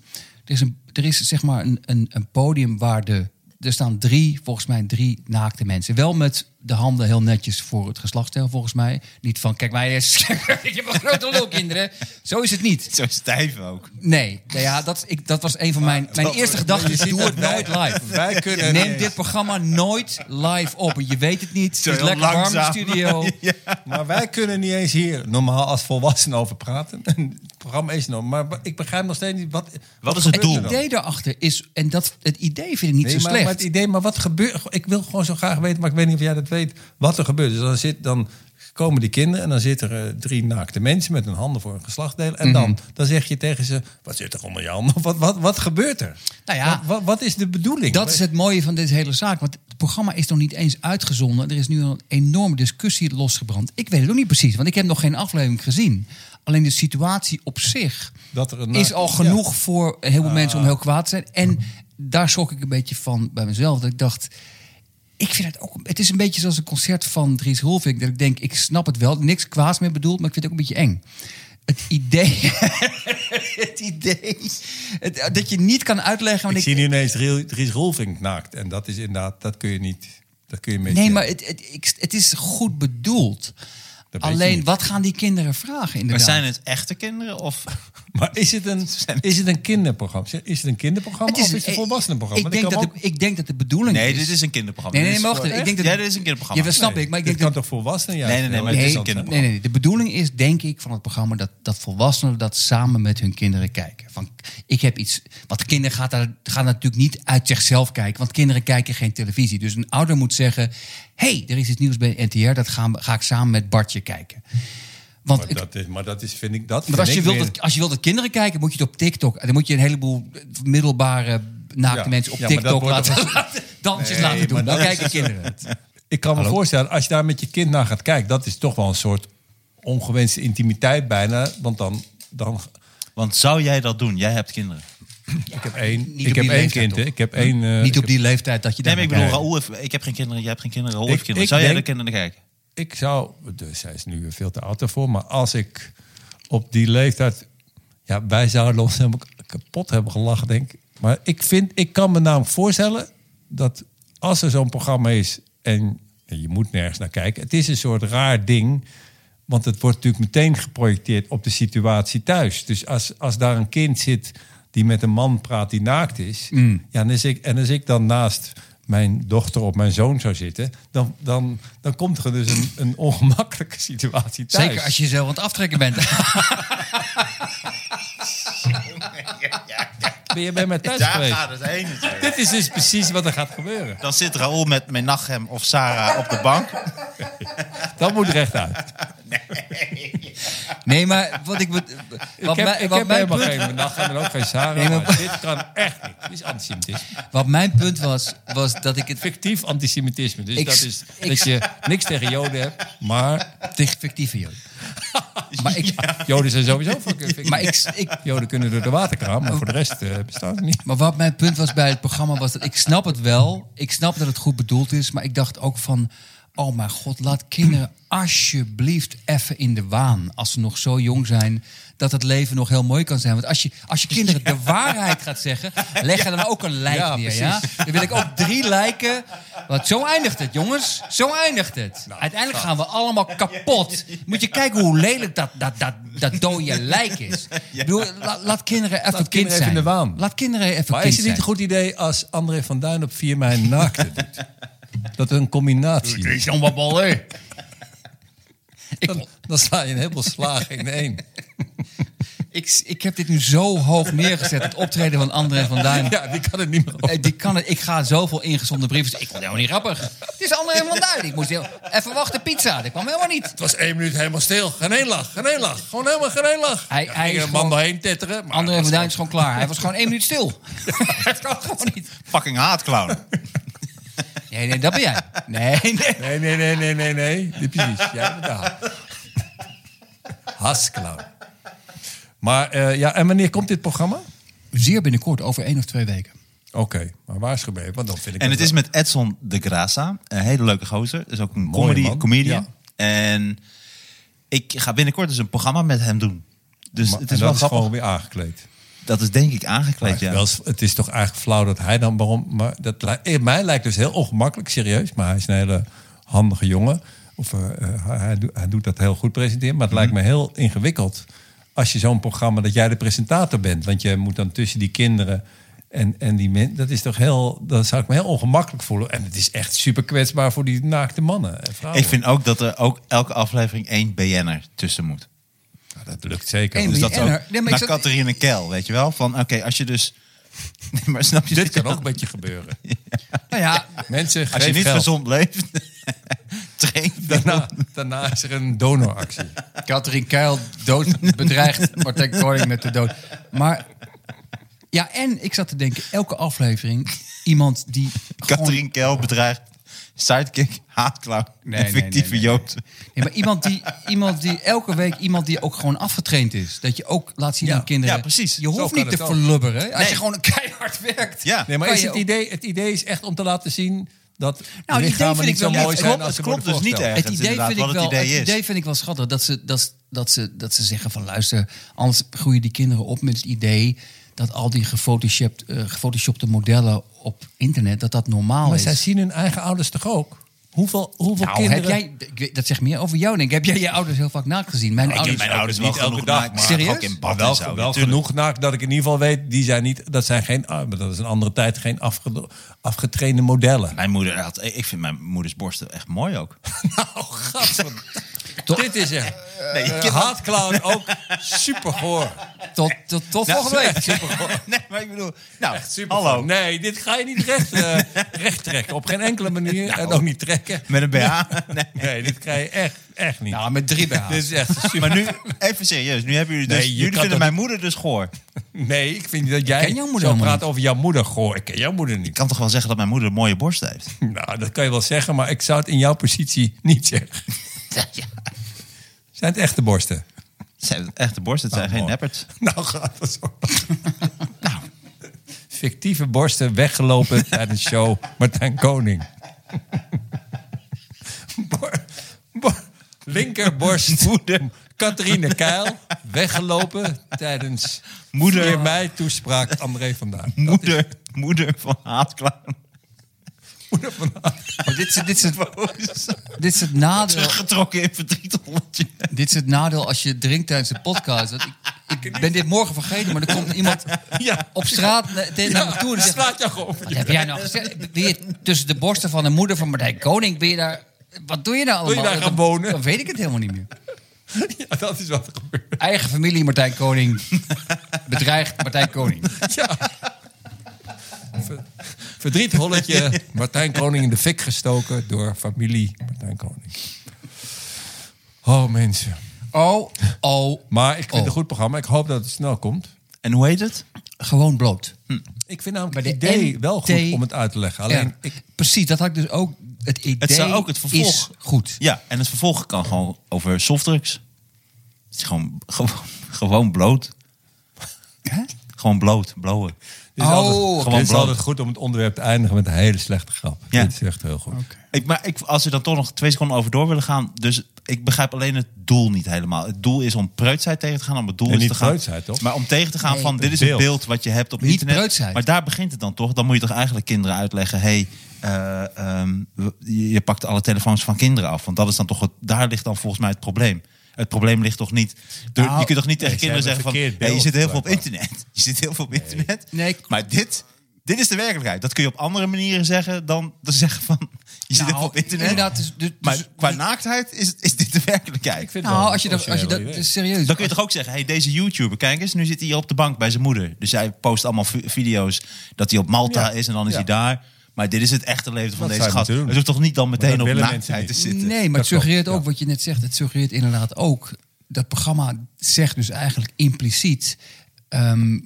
S2: Er is, een, er is zeg maar een, een, een podium waar de. Er staan drie, volgens mij drie naakte mensen. Wel met de handen heel netjes voor het geslachtsdeel, volgens mij. Niet van, kijk mij [LAUGHS] eens, ik heb een grote lul, kinderen. Zo is het niet.
S1: Zo stijf ook.
S2: Nee, nou ja, dat, ik, dat was een van mijn, mijn eerste gedachten. is, Doe het nooit live.
S3: Wij kunnen...
S2: Neem dit programma nooit live op. Je weet het niet. Het
S1: Zo
S2: is
S1: heel
S2: lekker warm in de
S1: langzaam. [LAUGHS]
S2: studio.
S3: [LAUGHS] Maar wij kunnen niet eens hier normaal als volwassenen over praten. [LAUGHS] het programma is nog. Maar ik begrijp nog steeds niet wat.
S1: Wat is het
S2: Het
S1: doel?
S2: idee daarachter is, en dat, het idee vind ik niet
S3: Nee,
S2: zo
S3: maar,
S2: slecht.
S3: maar het idee, maar wat gebeurt. Ik wil gewoon zo graag weten, maar ik weet niet of jij dat weet. Wat er gebeurt. Dus dan, zit, dan komen die kinderen en dan zitten er eh, drie naakte mensen met hun handen voor hun geslachtdeel. En dan, dan zeg je tegen ze: wat zit er onder je handen? Wat, wat, wat gebeurt er?
S2: Nou ja.
S3: wat, wat, wat is de bedoeling?
S2: Dat is het mooie van deze hele zaak. Want het programma is nog niet eens uitgezonden. Er is nu een enorme discussie losgebrand. Ik weet het ook niet precies, want ik heb nog geen aflevering gezien. Alleen de situatie op zich
S3: Dat er een-
S2: is al
S3: ja. Ah.
S2: genoeg voor heel veel mensen om heel kwaad te zijn. En daar schrok ik een beetje van bij mezelf. Dat ik dacht, ik vind het ook... Het is een beetje zoals een concert van Dries Rolfink. Dat ik denk, ik snap het wel. Niks kwaads meer bedoeld, maar ik vind het ook een beetje eng. het idee, [LAUGHS] het idee het- dat je niet kan uitleggen. want
S3: Ik
S2: ik-
S3: zie nu ineens Dries Dries Rolfink naakt. En dat is inderdaad, dat kun je niet. Dat kun je mensen.
S2: Nee, maar het, het, ik- het is goed bedoeld.
S3: weet je
S2: Alleen,
S3: niet.
S2: wat gaan die kinderen vragen
S1: Maar
S2: inderdaad?
S1: zijn het echte kinderen
S2: [LAUGHS]
S1: of...
S3: Maar is het een, is het een kinderprogramma? Is het een kinderprogramma of is het een volwassenenprogramma?
S2: Ik denk,
S3: Want
S2: dat
S3: kan
S2: de, ik denk dat de bedoeling
S1: Nee,
S2: is...
S1: dit is een kinderprogramma.
S2: dus- Nee, nee, nee,
S1: Dit
S2: maar
S1: is voor-
S2: wacht even, Ik denk
S1: Ja, dit is een kinderprogramma.
S2: Ja, dat snap
S3: Nee,
S2: ik, maar ik
S3: dit
S2: denk
S3: kan
S2: dat...
S3: toch volwassenen? Ja,
S1: Nee, nee, nee, maar dit
S3: het
S2: Nee,
S1: is
S3: een
S1: al
S2: nee,
S3: kinderprogramma.
S1: kinderboek.
S2: nee, nee, de bedoeling is, denk ik, van het programma... dat, dat volwassenen dat samen met hun kinderen kijken. Van, ik heb iets... Want kinderen gaat daar, gaan natuurlijk niet uit zichzelf kijken... want kinderen kijken geen televisie. Dus een ouder moet zeggen... hey, er is iets nieuws bij NTR, dat gaan, we- ga ik samen met Bartje kijken. Want
S3: Maar
S2: ik-
S3: dat, is, maar dat is, vind ik,
S2: Want
S3: dat vind
S2: als je,
S3: ik
S2: wilt
S3: weer-
S2: dat, als je wilt dat kinderen kijken, moet je het op TikTok. Dan moet je een heleboel middelbare naakte
S3: Ja.
S2: mensen op
S3: Ja, maar dat
S2: TikTok
S3: wordt
S2: laten, [LAUGHS]
S3: toch-
S2: laten dansjes
S3: Nee,
S2: laten doen.
S3: maar
S2: Dan
S3: dat
S2: kijken kinderen het.
S3: Ik kan me voorstellen, als je daar met je kind naar gaat kijken, dat is toch wel een soort ongewenste intimiteit bijna. Want dan. dan
S1: Want zou jij dat doen? Jij hebt kinderen.
S3: ik heb één,
S2: niet
S3: ik
S2: op
S3: heb
S2: die
S3: één
S2: leeftijd,
S3: kind. hè.
S2: toch? Hm.
S3: Ik heb één. eh,
S2: Niet
S3: ik
S2: op die leeftijd dat je
S1: Nee, maar
S2: daar
S1: ik
S2: naar
S1: bedoel,
S2: kijkt.
S1: Raoul heeft, ik heb geen kinderen, jij hebt geen kinderen, Raoul
S3: Ik-
S1: heeft kinderen.
S3: ik
S1: Zou jij
S3: denk-
S1: de kinderen kijken?
S3: ik zou, dus zij is nu veel te oud daarvoor, maar als ik op die leeftijd, ja, wij zouden ons helemaal kapot hebben gelachen, denk ik. Maar ik vind, ik kan me namelijk voorstellen dat als er zo'n programma is en je moet nergens naar kijken, het is een soort raar ding, want het wordt natuurlijk meteen geprojecteerd op de situatie thuis. Dus als, als daar een kind zit die met een man praat die naakt is,
S2: Mm.
S3: ja, en als ik, en als ik dan naast mijn dochter of mijn zoon zou zitten, dan, dan, dan komt er dus een, een ongemakkelijke situatie thuis.
S2: Zeker als je zelf aan het aftrekken bent.
S3: ben je bij mij thuis geweest.
S1: het heen natuurlijk.
S3: Dit is dus precies wat er gaat gebeuren.
S1: Dan zit Raoul met Menachem of Sarah op de bank.
S3: Dat moet recht uit.
S2: Nee, maar wat ik... Wat,
S3: Ik
S2: wat
S3: heb,
S2: mij-
S3: ik
S2: wat
S3: heb
S2: mijn
S3: helemaal
S2: punt-
S3: geen nacht en ook geen Sarah.
S2: Nee, maar-
S3: maar dit kan echt niet. Dit is antisemitisme.
S2: Wat mijn punt was, was dat ik het
S3: Fictief antisemitisme. Dus
S2: Ik-
S3: dat is
S2: ik-
S3: dat je niks tegen Joden hebt, maar
S2: tegen fictieve joden. Maar ik,
S3: [LAUGHS] Joden zijn sowieso fucking fictief.
S2: maar ik, ik,
S3: Joden kunnen door de waterkraan, maar voor de rest eh, bestaat het niet.
S2: [LAUGHS] Maar wat mijn punt was bij het programma was dat ik snap het wel. Ik snap dat het goed bedoeld is. Maar ik dacht ook van, oh mijn god, laat kinderen alsjeblieft even in de waan. Als ze nog zo jong zijn, dat het leven nog heel mooi kan zijn. Want als je, als je kinderen
S3: [LAUGHS]
S2: de waarheid gaat zeggen, leg er dan ook een lijk
S3: Ja,
S2: neer. Ja? Dan wil ik ook drie lijken. Want zo eindigt het, jongens. Zo eindigt het.
S3: Nou,
S2: Uiteindelijk gaan we allemaal kapot. Moet je kijken hoe lelijk dat, dat, dat, dat dode lijk is. Ik bedoel, la- laat kinderen even kind
S3: kinderen even
S2: zijn.
S3: in de waan.
S2: Laat kinderen even
S3: Maar is het niet een goed idee als André van Duin op 4 mei naakt het [LAUGHS] doet? Dat is een combinatie.
S2: is allemaal ballen.
S3: Dan, dan sla je een heleboel slagen in één.
S2: [LAUGHS] Ik, ik heb dit nu zo hoog neergezet. Het optreden van André van Duin.
S3: Ja, die kan het niet meer
S2: Eh,
S3: over.
S2: Die kan het, ik ga zoveel ingezonden brieven. Ik vond het helemaal niet grappig. Het is André van Duin. Ik moest heel, even wachten, pizza. Dat kwam helemaal niet.
S3: Het was één minuut helemaal stil. Geen één lach, geen één lach. Gewoon helemaal geen één lach.
S2: Hij-
S3: Ja,
S2: hij
S3: ging
S2: is
S3: een
S2: gewoon-
S3: man doorheen tetteren. maar
S2: André
S3: dat
S2: van
S3: was-
S2: Duin is gewoon klaar. Hij was gewoon één minuut stil. Dat kan gewoon niet.
S1: Fucking haatclown.
S2: Nee, nee, dat ben jij. Nee, nee.
S3: Nee, nee, nee, nee, nee, nee. Niet precies. Ja, inderdaad. Hasklauw. Maar eh, ja, en wanneer komt dit programma?
S2: Zeer binnenkort, over één of twee weken.
S3: Oké, maar waarschuw me even, want dan vind ik...
S1: En
S3: dat
S1: het is
S3: wel-
S1: met Edson de Graça. Een hele leuke gozer. Is ook een comedy,
S3: man.
S1: comedian.
S3: Ja.
S1: En ik ga binnenkort dus een programma met hem doen. Dus
S3: maar-
S1: het
S3: en
S1: is wel
S3: dat is
S1: grappig.
S3: gewoon weer aangekleed.
S1: Dat is denk ik aangekleed,
S3: Maar
S1: ja.
S3: wel, het is toch eigenlijk flauw dat hij dan waarom. Maar dat li- eh, mij lijkt dus heel ongemakkelijk, serieus. Maar hij is een hele handige jongen. Of eh, eh, hij, hij doet- hij doet dat heel goed presenteren.
S1: Mhm.
S3: Maar het lijkt me heel ingewikkeld als je zo'n programma dat jij de presentator bent, want je moet dan tussen die kinderen. En, en die men, dat is toch heel, dat zou ik me heel ongemakkelijk voelen. En het is echt super kwetsbaar voor die naakte mannen. En vrouwen.
S1: Ik vind ook dat er ook elke aflevering één BN'er tussen moet.
S3: Nou, dat lukt zeker.
S2: Eén
S3: Dus dat,
S1: Dat is ook
S2: BN'er? Nee, maar ik
S1: naar
S2: zat-
S1: Catharine Kel, weet je wel? Van oké, als je dus... [LAUGHS] Nee, maar snap je [LAUGHS]
S3: dit kan
S1: wel?
S3: ook met je gebeuren.
S2: Nou ja,
S3: Mensen,
S1: Als je
S3: geef
S1: niet
S3: geld.
S1: gezond leeft, [LAUGHS] train
S3: [LAUGHS] Daarna, Nou, daarna is er een donoractie.
S2: Katrien Keil dood bedreigt Martijn Koning met de dood. Maar ja, en ik zat te denken, elke aflevering iemand die gewoon-
S1: Katrien Kel bedreigt sidekick, haatklauw,
S2: Nee,
S1: en
S2: nee, nee,
S1: fictieve
S2: nee,
S1: jood.
S2: Nee, maar iemand die, iemand die elke week iemand die ook gewoon afgetraind is. Dat je ook laat zien
S3: Ja,
S2: aan kinderen.
S1: ja, precies.
S2: Je
S3: Zo
S2: hoeft
S3: kan
S2: niet te
S3: het ook.
S2: verlubberen. Als
S1: Nee.
S2: je gewoon [LAUGHS] keihard werkt.
S1: Ja.
S3: Nee, maar
S2: kan
S3: is
S2: je
S3: het,
S2: ook- Nou,
S3: idee, het idee is echt om te laten zien dat
S2: idee
S3: lichamen
S2: vind
S3: niet
S2: ik wel-
S3: zo mooi
S2: het
S3: zijn
S1: klopt- het
S3: als ze
S1: klopt
S3: worden
S1: dus niet,
S3: voorgesteld.
S1: hè? ergens inderdaad
S2: vind ik
S1: wat het
S2: wel,
S1: idee is.
S2: Het idee vind ik wel schattig. Dat ze, dat, dat, ze, dat ze zeggen van luister, anders groeien die kinderen op met het idee dat al die gefotoshopt, eh, gefotoshopte modellen op internet, dat dat normaal
S3: Maar
S2: is.
S3: zij zien hun eigen ouders toch ook? Hoeveel, hoeveel
S2: nou,
S3: kinderen...
S2: heb jij, ik weet- dat zegt meer over jou, denk ik. Heb jij je ouders heel vaak nagezien? Mijn
S3: Oh,
S1: Ik heb
S2: ouders
S1: mijn
S2: ook.
S1: ouders wel
S3: niet elke
S1: genoeg
S3: dag.
S1: naakt, maar
S2: Serieus?
S1: ook in bad
S3: Maar
S1: en
S3: wel,
S2: nou
S1: zo,
S3: wel
S1: natuurlijk.
S3: genoeg naakt dat ik in ieder geval weet, die zijn niet, dat zijn geen, ah, maar dat is een andere tijd, geen afge- afgetrainde modellen.
S1: Mijn moeder had, ik vind mijn moeders borsten echt mooi ook.
S3: [LAUGHS] Nou, gadver- Dit is echt. Nee, haatclown ook super hoor.
S2: Tot, tot, tot
S3: Nou,
S2: volgende
S3: [LAUGHS]
S2: week.
S1: nee, maar ik bedoel, nou,
S3: Echt super
S1: hallo.
S3: Nee, dit ga je niet
S2: [LAUGHS]
S3: recht, eh, recht trekken. Op geen enkele manier. en ook niet trekken.
S1: Met een BH. [LAUGHS] Nee.
S3: Nee, dit krijg je echt, echt niet.
S2: Nou, met
S3: [LAUGHS]
S2: drie BH's.
S3: dit is echt super.
S1: Maar nu, even serieus, nu hebben jullie dus,
S3: Nee, je
S1: jullie
S3: kan
S1: vinden
S3: toch
S1: mijn moeder dus goor.
S3: Nee, ik vind dat jij
S2: ken jouw moeder
S3: zo
S2: helemaal
S3: praat
S2: niet.
S3: over jouw moeder. Goh, ik ken jouw moeder
S1: Ik
S3: niet.
S1: kan toch wel zeggen dat mijn moeder mooie borsten heeft?
S3: Nou, dat kan je wel zeggen, maar ik zou het in jouw positie niet zeggen.
S2: [LAUGHS]
S3: Zijn het echte borsten?
S1: Het zijn echte borsten, het zijn
S3: Nou,
S1: geen
S3: mooi.
S1: neppert.
S3: [LAUGHS] Nou gaat dat zo. nou, fictieve borsten weggelopen tijdens show Martijn [LAUGHS] Koning. Bor- bor- linkerborst. Catharine Keil, weggelopen tijdens
S1: Moeder.
S3: Vier mei toespraak André vandaag.
S1: Moeder, moeder van
S3: [LAUGHS]
S1: haatklaar.
S2: Maar dit, is- dit, is het, [LAUGHS] dit is het nadeel.
S1: Teruggetrokken in verdrietolletje.
S2: Dit is het nadeel als je drinkt tijdens een podcast. Want ik, ik ben dit morgen vergeten, maar er komt iemand
S3: Ja.
S2: op straat na- tegen naar me toe en die zegt...
S3: Nou, slaat jou gewoon.
S2: Wat heb jij nou gezegd? Ben je tussen de borsten van de moeder van Martijn Koning? Ben je daar... Wat doe je nou allemaal?
S3: je daar gaan
S2: Dan-
S3: wonen?
S2: Dan weet ik het helemaal niet meer.
S3: Ja, dat is wat er gebeurt.
S2: Eigen familie Martijn Koning bedreigt Martijn Koning.
S3: [LAUGHS] Ja. Ver- Verdriet Holletje, Martijn Koning in de fik gestoken door familie Martijn Koning. Oh, mensen.
S2: Oh, oh,
S3: Maar ik vind het
S2: Oh.
S3: een goed programma. Ik hoop dat het snel komt.
S1: En hoe heet het?
S2: gewoon bloot.
S3: Ik vind namelijk
S2: Maar
S3: het
S2: de
S3: idee
S2: NT
S3: wel goed om het uit te leggen. Alleen,
S2: Ja,
S3: ik,
S2: precies, dat had ik dus ook. Het idee
S1: Het zou ook het vervolg.
S2: is goed.
S1: Ja, en het vervolg kan gewoon over softdrugs. Het is gewoon, gewoon, gewoon bloot. Gewoon bloot, blowen.
S3: dit is,
S2: Oh,
S3: altijd,
S2: oké.
S3: dit is
S1: Gewoon
S3: altijd goed om het onderwerp te eindigen met een hele slechte grap.
S1: Ja.
S3: Dit is echt heel goed.
S1: Ik, maar ik, als we dan toch nog twee seconden over door willen gaan. Dus ik begrijp alleen het doel niet helemaal. Het doel is om preutsheid tegen te gaan. Om het doel
S3: Nee,
S1: is
S3: niet
S1: te gaan.
S3: preutsheid, toch?
S1: Maar om tegen te gaan
S2: Nee,
S1: van dit is
S3: beeld.
S1: het beeld wat je hebt op
S2: Niet
S1: internet.
S2: preutsheid.
S1: Maar daar begint het dan toch. Dan moet je toch eigenlijk kinderen uitleggen. Hey, eh, ehm, we- je je pakt alle telefoons van kinderen af. Want dat is dan toch het, daar ligt dan volgens mij het probleem. Het probleem ligt toch niet. door-
S2: Nou,
S1: je kunt toch niet tegen
S3: ze
S1: kinderen zeggen
S3: hebben
S1: van.
S3: een verkeerd
S1: hey, je
S3: beeld,
S1: zit heel veel op
S3: blijkbaar.
S1: internet. [LAUGHS] Je zit heel veel op internet.
S2: Nee, klopt.
S1: maar dit. Dit is de werkelijkheid. Dat kun je op andere manieren zeggen dan te zeggen van... Je zit
S2: Nou,
S1: heel veel op internet.
S2: inderdaad, dus- dus-
S1: maar
S2: dus-
S1: qua naaktheid is, is dit de werkelijkheid.
S3: Ik vind het wel
S2: Nou,
S3: een
S2: als je dat, als je dat
S3: origineel idee.
S2: dat is serieus.
S1: Dan kun je toch ook zeggen, hey, deze YouTuber, kijk eens, nu zit hij hier op de bank bij zijn moeder. Dus hij post allemaal vi- video's dat hij op Malta
S3: Ja.
S1: is en dan is
S3: Ja.
S1: hij daar. Maar dit is het echte leven van
S3: Dat
S1: deze
S3: zou je
S1: gast.
S3: moeten doen.
S1: Het hoeft toch niet dan meteen
S3: dat
S1: op
S3: willen
S1: naaktheid te
S3: mensen
S1: zitten?
S2: Nee, maar
S3: Dat
S2: het suggereert
S3: klopt,
S2: ook wat je net zegt. Het suggereert inderdaad ook. Dat programma zegt dus eigenlijk impliciet. ehm,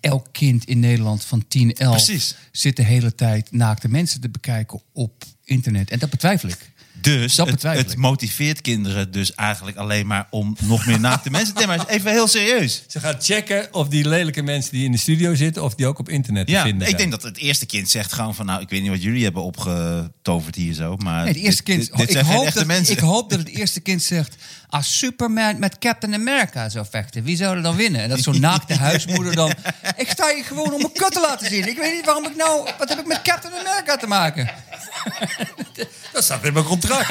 S2: elk kind in Nederland van 10, 11
S1: Precies.
S2: zit de hele tijd naakte mensen te bekijken op internet. En dat betwijfel ik.
S1: Dus
S2: Dat
S1: het,
S2: betwijfel
S1: het
S2: ik.
S1: motiveert kinderen dus eigenlijk alleen maar om nog meer naakte [LAUGHS] mensen... Nee, maar even heel serieus.
S3: Ze gaan checken of die lelijke mensen die in de studio zitten... of die ook op internet te
S1: Ja,
S3: vinden
S1: ik
S3: zijn.
S1: denk dat het eerste kind zegt gewoon van... nou, ik weet niet wat jullie hebben opgetoverd hier zo, maar...
S2: Nee, het eerste
S1: dit-
S2: kind.
S1: Dit, dit
S2: ik,
S1: zijn geen
S2: hoop
S1: echte
S2: dat,
S1: mensen.
S2: ik hoop dat het eerste kind zegt. Als Superman met Captain America zou vechten, wie zou er dan winnen? En dat zo'n
S1: [LAUGHS]
S2: naakte huismoeder dan. Ik sta hier gewoon om mijn kut te laten zien. Ik weet niet waarom ik nou. Wat heb ik met Captain America te maken?
S3: Dat staat in mijn contract.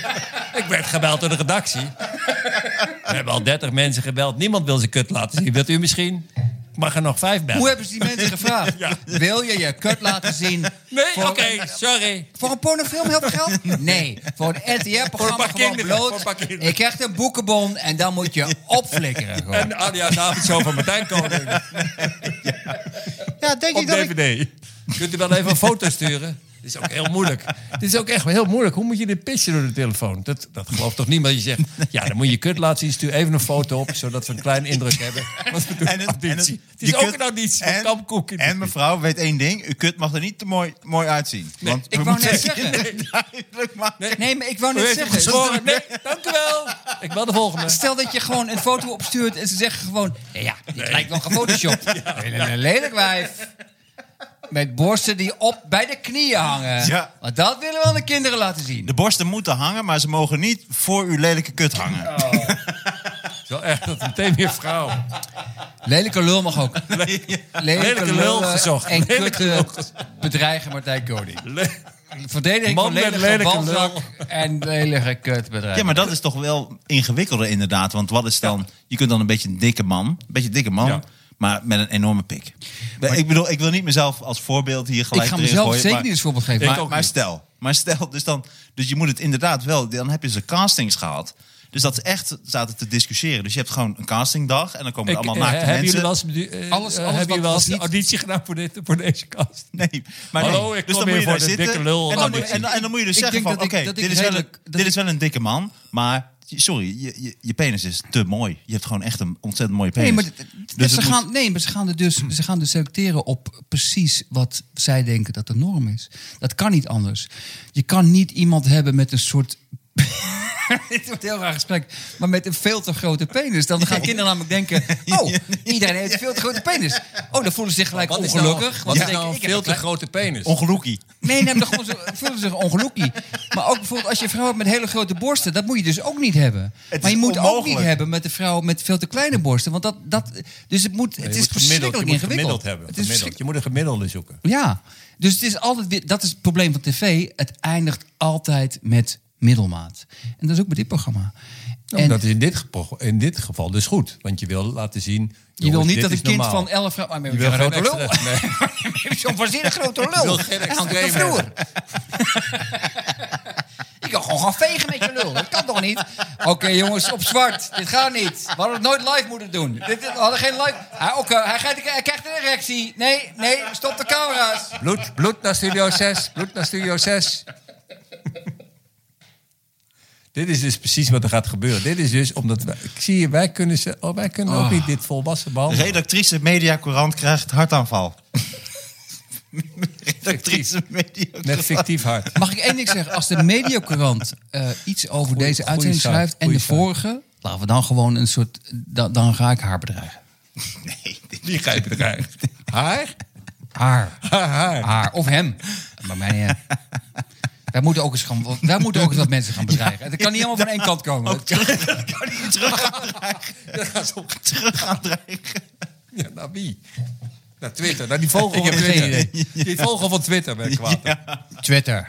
S3: [LAUGHS] ik werd gebeld door de redactie. We hebben al 30 mensen gebeld. Niemand wil zijn kut laten zien. Wilt u misschien? Ik mag er nog vijf bellen.
S2: Hoe hebben ze die mensen gevraagd? Wil je je kut laten zien?
S3: Nee,
S2: voor-
S3: oké, sorry.
S2: Voor een pornofilm heel veel geld? Nee. Voor een RTL-programma
S3: Voor een
S2: gewoon
S3: paar kinderen, voor
S2: bloot.
S3: een paar kinderen.
S2: Je krijgt een boekenbon en dan moet je opflikkeren. gewoon.
S3: En oh, de avondshow van Martijn [LAUGHS] Koning
S1: Ja, denk
S3: op
S1: ik dat ik-
S3: DVD. Kunt u wel even een foto sturen? Dit is ook heel moeilijk. Dit is ook echt heel moeilijk. Hoe moet je dit pitchen door de telefoon? Dat, dat gelooft toch niemand. Je [LAUGHS] zegt, ja, dan moet je je kut laten zien. Stuur even een foto op, zodat we een klein indruk hebben. Want we doen
S1: En
S3: een auditie. Het, is
S1: je
S3: ook
S1: kunt-
S3: een auditie van
S1: en-
S3: Kampkoek.
S1: En mevrouw, weet één ding. Uw kut mag er niet te mooi, mooi uitzien. want
S2: ik
S1: we
S2: wou
S1: moeten
S2: net
S1: [LAUGHS]
S2: zeggen.
S1: kinderen duidelijk maken.
S2: Nee, maar ik wou
S3: U
S2: net
S3: heeft hem
S2: zeggen.
S3: gezworen. Nee, dank u wel. Ik wil de volgende.
S2: Stel dat je gewoon een foto opstuurt en ze zeggen gewoon... "Nee, Ja, dit lijkt wel gefotoshopt. Een lelijk wijf. met borsten die op bij de knieën hangen.
S1: Ja.
S2: Want dat willen we aan de kinderen laten zien.
S1: De borsten moeten hangen, maar ze mogen niet voor uw lelijke kut hangen.
S3: Het is wel echt dat meteen weer vrouw.
S2: Lelijke lul mag
S3: [LAUGHS]
S2: ook. Lelijke
S3: lul
S2: lullen
S3: gezocht.
S2: En
S3: Lelijke
S2: kutte
S3: lul
S2: bedreigen Martijn Koning. Verdediging
S3: Man
S2: van
S3: met
S2: lelijke
S3: lelijke
S2: balzak en lelijke kut
S1: Ja, maar dat is toch wel ingewikkelder inderdaad. Want wat is dan... Je kunt dan een beetje een dikke man. Een beetje een dikke man,
S3: Ja.
S1: maar met een enorme pik. ik bedoel, ik wil niet mezelf als voorbeeld hier gelijk
S2: Ik ga
S1: erin
S2: mezelf
S1: gooien,
S2: zeker
S1: maar-
S2: niet als voorbeeld geven.
S1: Maar,
S2: Ik ook
S1: maar
S2: niet.
S1: stel. Maar stel, dus, dan, dus je moet het inderdaad wel... Dan heb je ze castings gehad. Dus dat is echt zaten te discussiëren. Dus je hebt gewoon een castingdag en dan komen er
S3: Ik,
S1: allemaal
S3: eh,
S1: naakte
S3: hebben jullie
S1: mensen.
S3: wel eens, bedu-
S2: Alles-
S3: eh,
S2: alles
S3: eh,
S2: wat-
S3: hebben jullie wel
S2: wat
S3: eens
S2: niet-
S3: auditie gedaan voor, dit, voor deze kast?
S1: Nee, maar
S3: Hallo,
S1: nee.
S3: ik
S1: dus
S3: kom
S1: dan
S3: hier
S1: moet je daar
S3: voor de
S1: zitten.
S3: dikke lul
S1: En dan, moet,
S3: auditie.
S1: en, dan- en dan moet je dus
S2: Ik
S1: zeggen
S2: denk
S1: van, oké,
S2: dat ik- dat
S1: dit,
S2: ik
S1: is wel een-
S2: redelijk- dat
S1: dit
S2: ik-
S1: is wel een dikke man, maar sorry, je, je, je penis is te mooi. Je hebt gewoon echt een ontzettend mooie penis.
S2: Nee, maar, d- d-
S1: Dus
S2: ze
S1: het moet-
S2: gaan, nee, maar ze gaan, er dus,
S3: Hmm.
S2: ze gaan dus selecteren op precies wat zij denken dat de norm is. Dat kan niet anders. Je kan niet iemand hebben met een soort... [LAUGHS] Dit wordt een heel raar gesprek. Maar met een veel te grote penis. Dan gaan kinderen namelijk denken...
S3: [LAUGHS]
S2: Oh, iedereen heeft een veel te grote penis. Oh, dan voelen ze zich gelijk ongelukkig.
S3: Wat
S2: Want ze
S3: is
S2: denken,
S3: nou een
S2: ik heb
S3: veel
S2: een
S3: te grote penis?
S1: Ongelukkig.
S2: Nee, nee, maar dan gewoon zo- voelen ze zich ongelukkig. Maar ook bijvoorbeeld als je een vrouw hebt met hele grote borsten, dat moet je dus ook niet hebben.
S1: Het
S2: maar je
S1: is
S2: moet ook
S1: onmogelijk.
S2: niet hebben met een vrouw met veel te kleine borsten. Want dat, dat, dus het, moet, het
S3: Je
S2: is
S3: moet gemiddeld-
S2: verschrikkelijk
S3: je moet
S2: ingewikkeld.
S3: gemiddeld hebben.
S2: Het is
S3: Gemiddeld. Je moet een gemiddelde zoeken.
S2: verschrik- ja, dus het is altijd weer, dat is het probleem van tv. Het eindigt altijd met middelmaat. En dat is ook bij dit programma.
S3: Nou,
S2: en
S3: dat is in dit, gepo- in dit geval dus goed. Want je wil laten zien...
S2: je wil
S3: jongens,
S2: niet
S3: dit
S2: dat een
S3: is
S2: kind
S3: normaal.
S2: van 11 jaar... Maar met
S3: Je wil
S2: een
S3: geen
S2: grote lul.
S3: extra- nee.
S2: Met Zo'n waanzinnig grote lul.
S3: wil geen
S2: Hij hangt op de
S3: extreem
S2: vloer. [LAUGHS] Ik kan gewoon gaan vegen met je lul. Dat kan toch niet? Oké, jongens, op zwart. Dit gaat niet. We hadden het nooit live moeten doen. Dit, we hadden geen live... Hij, ook, eh, hij, gaat- hij krijgt een erectie. Nee, nee, stop de camera's.
S3: Bloed, bloed naar Studio 6, bloed naar Studio 6. Dit is dus precies wat er gaat gebeuren. Dit is dus omdat wij, ik zie je, wij kunnen, ze, oh, wij kunnen
S2: Ah.
S3: ook niet dit volwassen behandelen.
S1: Redactrice Media Courant krijgt
S2: [LAUGHS]
S1: hartaanval. Redactrice Media Courant.
S3: Net fictief hard.
S2: Mag ik één ding zeggen? Als de Mediocurant eh, iets over deze
S3: goeie
S2: uitzending
S3: zaak,
S2: schrijft en
S3: goeie
S2: de vorige... Laten we dan gewoon een soort... Dan, dan ga ik haar bedreigen.
S3: Die ga je
S2: [LAUGHS]
S3: bedreigen. Haar?
S2: Haar.
S3: Haar, haar.
S2: haar of hem. Maar mij niet. uit. Wij moeten ook eens gaan, wij moeten ook eens wat mensen gaan bedreigen. Het kan niet allemaal van één kant komen. Het kan-
S3: [LAUGHS] Dat gaat zo-
S1: Terug aan dreigen.
S3: Ja, naar wie? Naar Twitter, naar die vogel
S2: Ik
S3: van
S2: heb geen
S3: Twitter. Die vogel van Twitter ben ik kwaad.
S2: Twitter.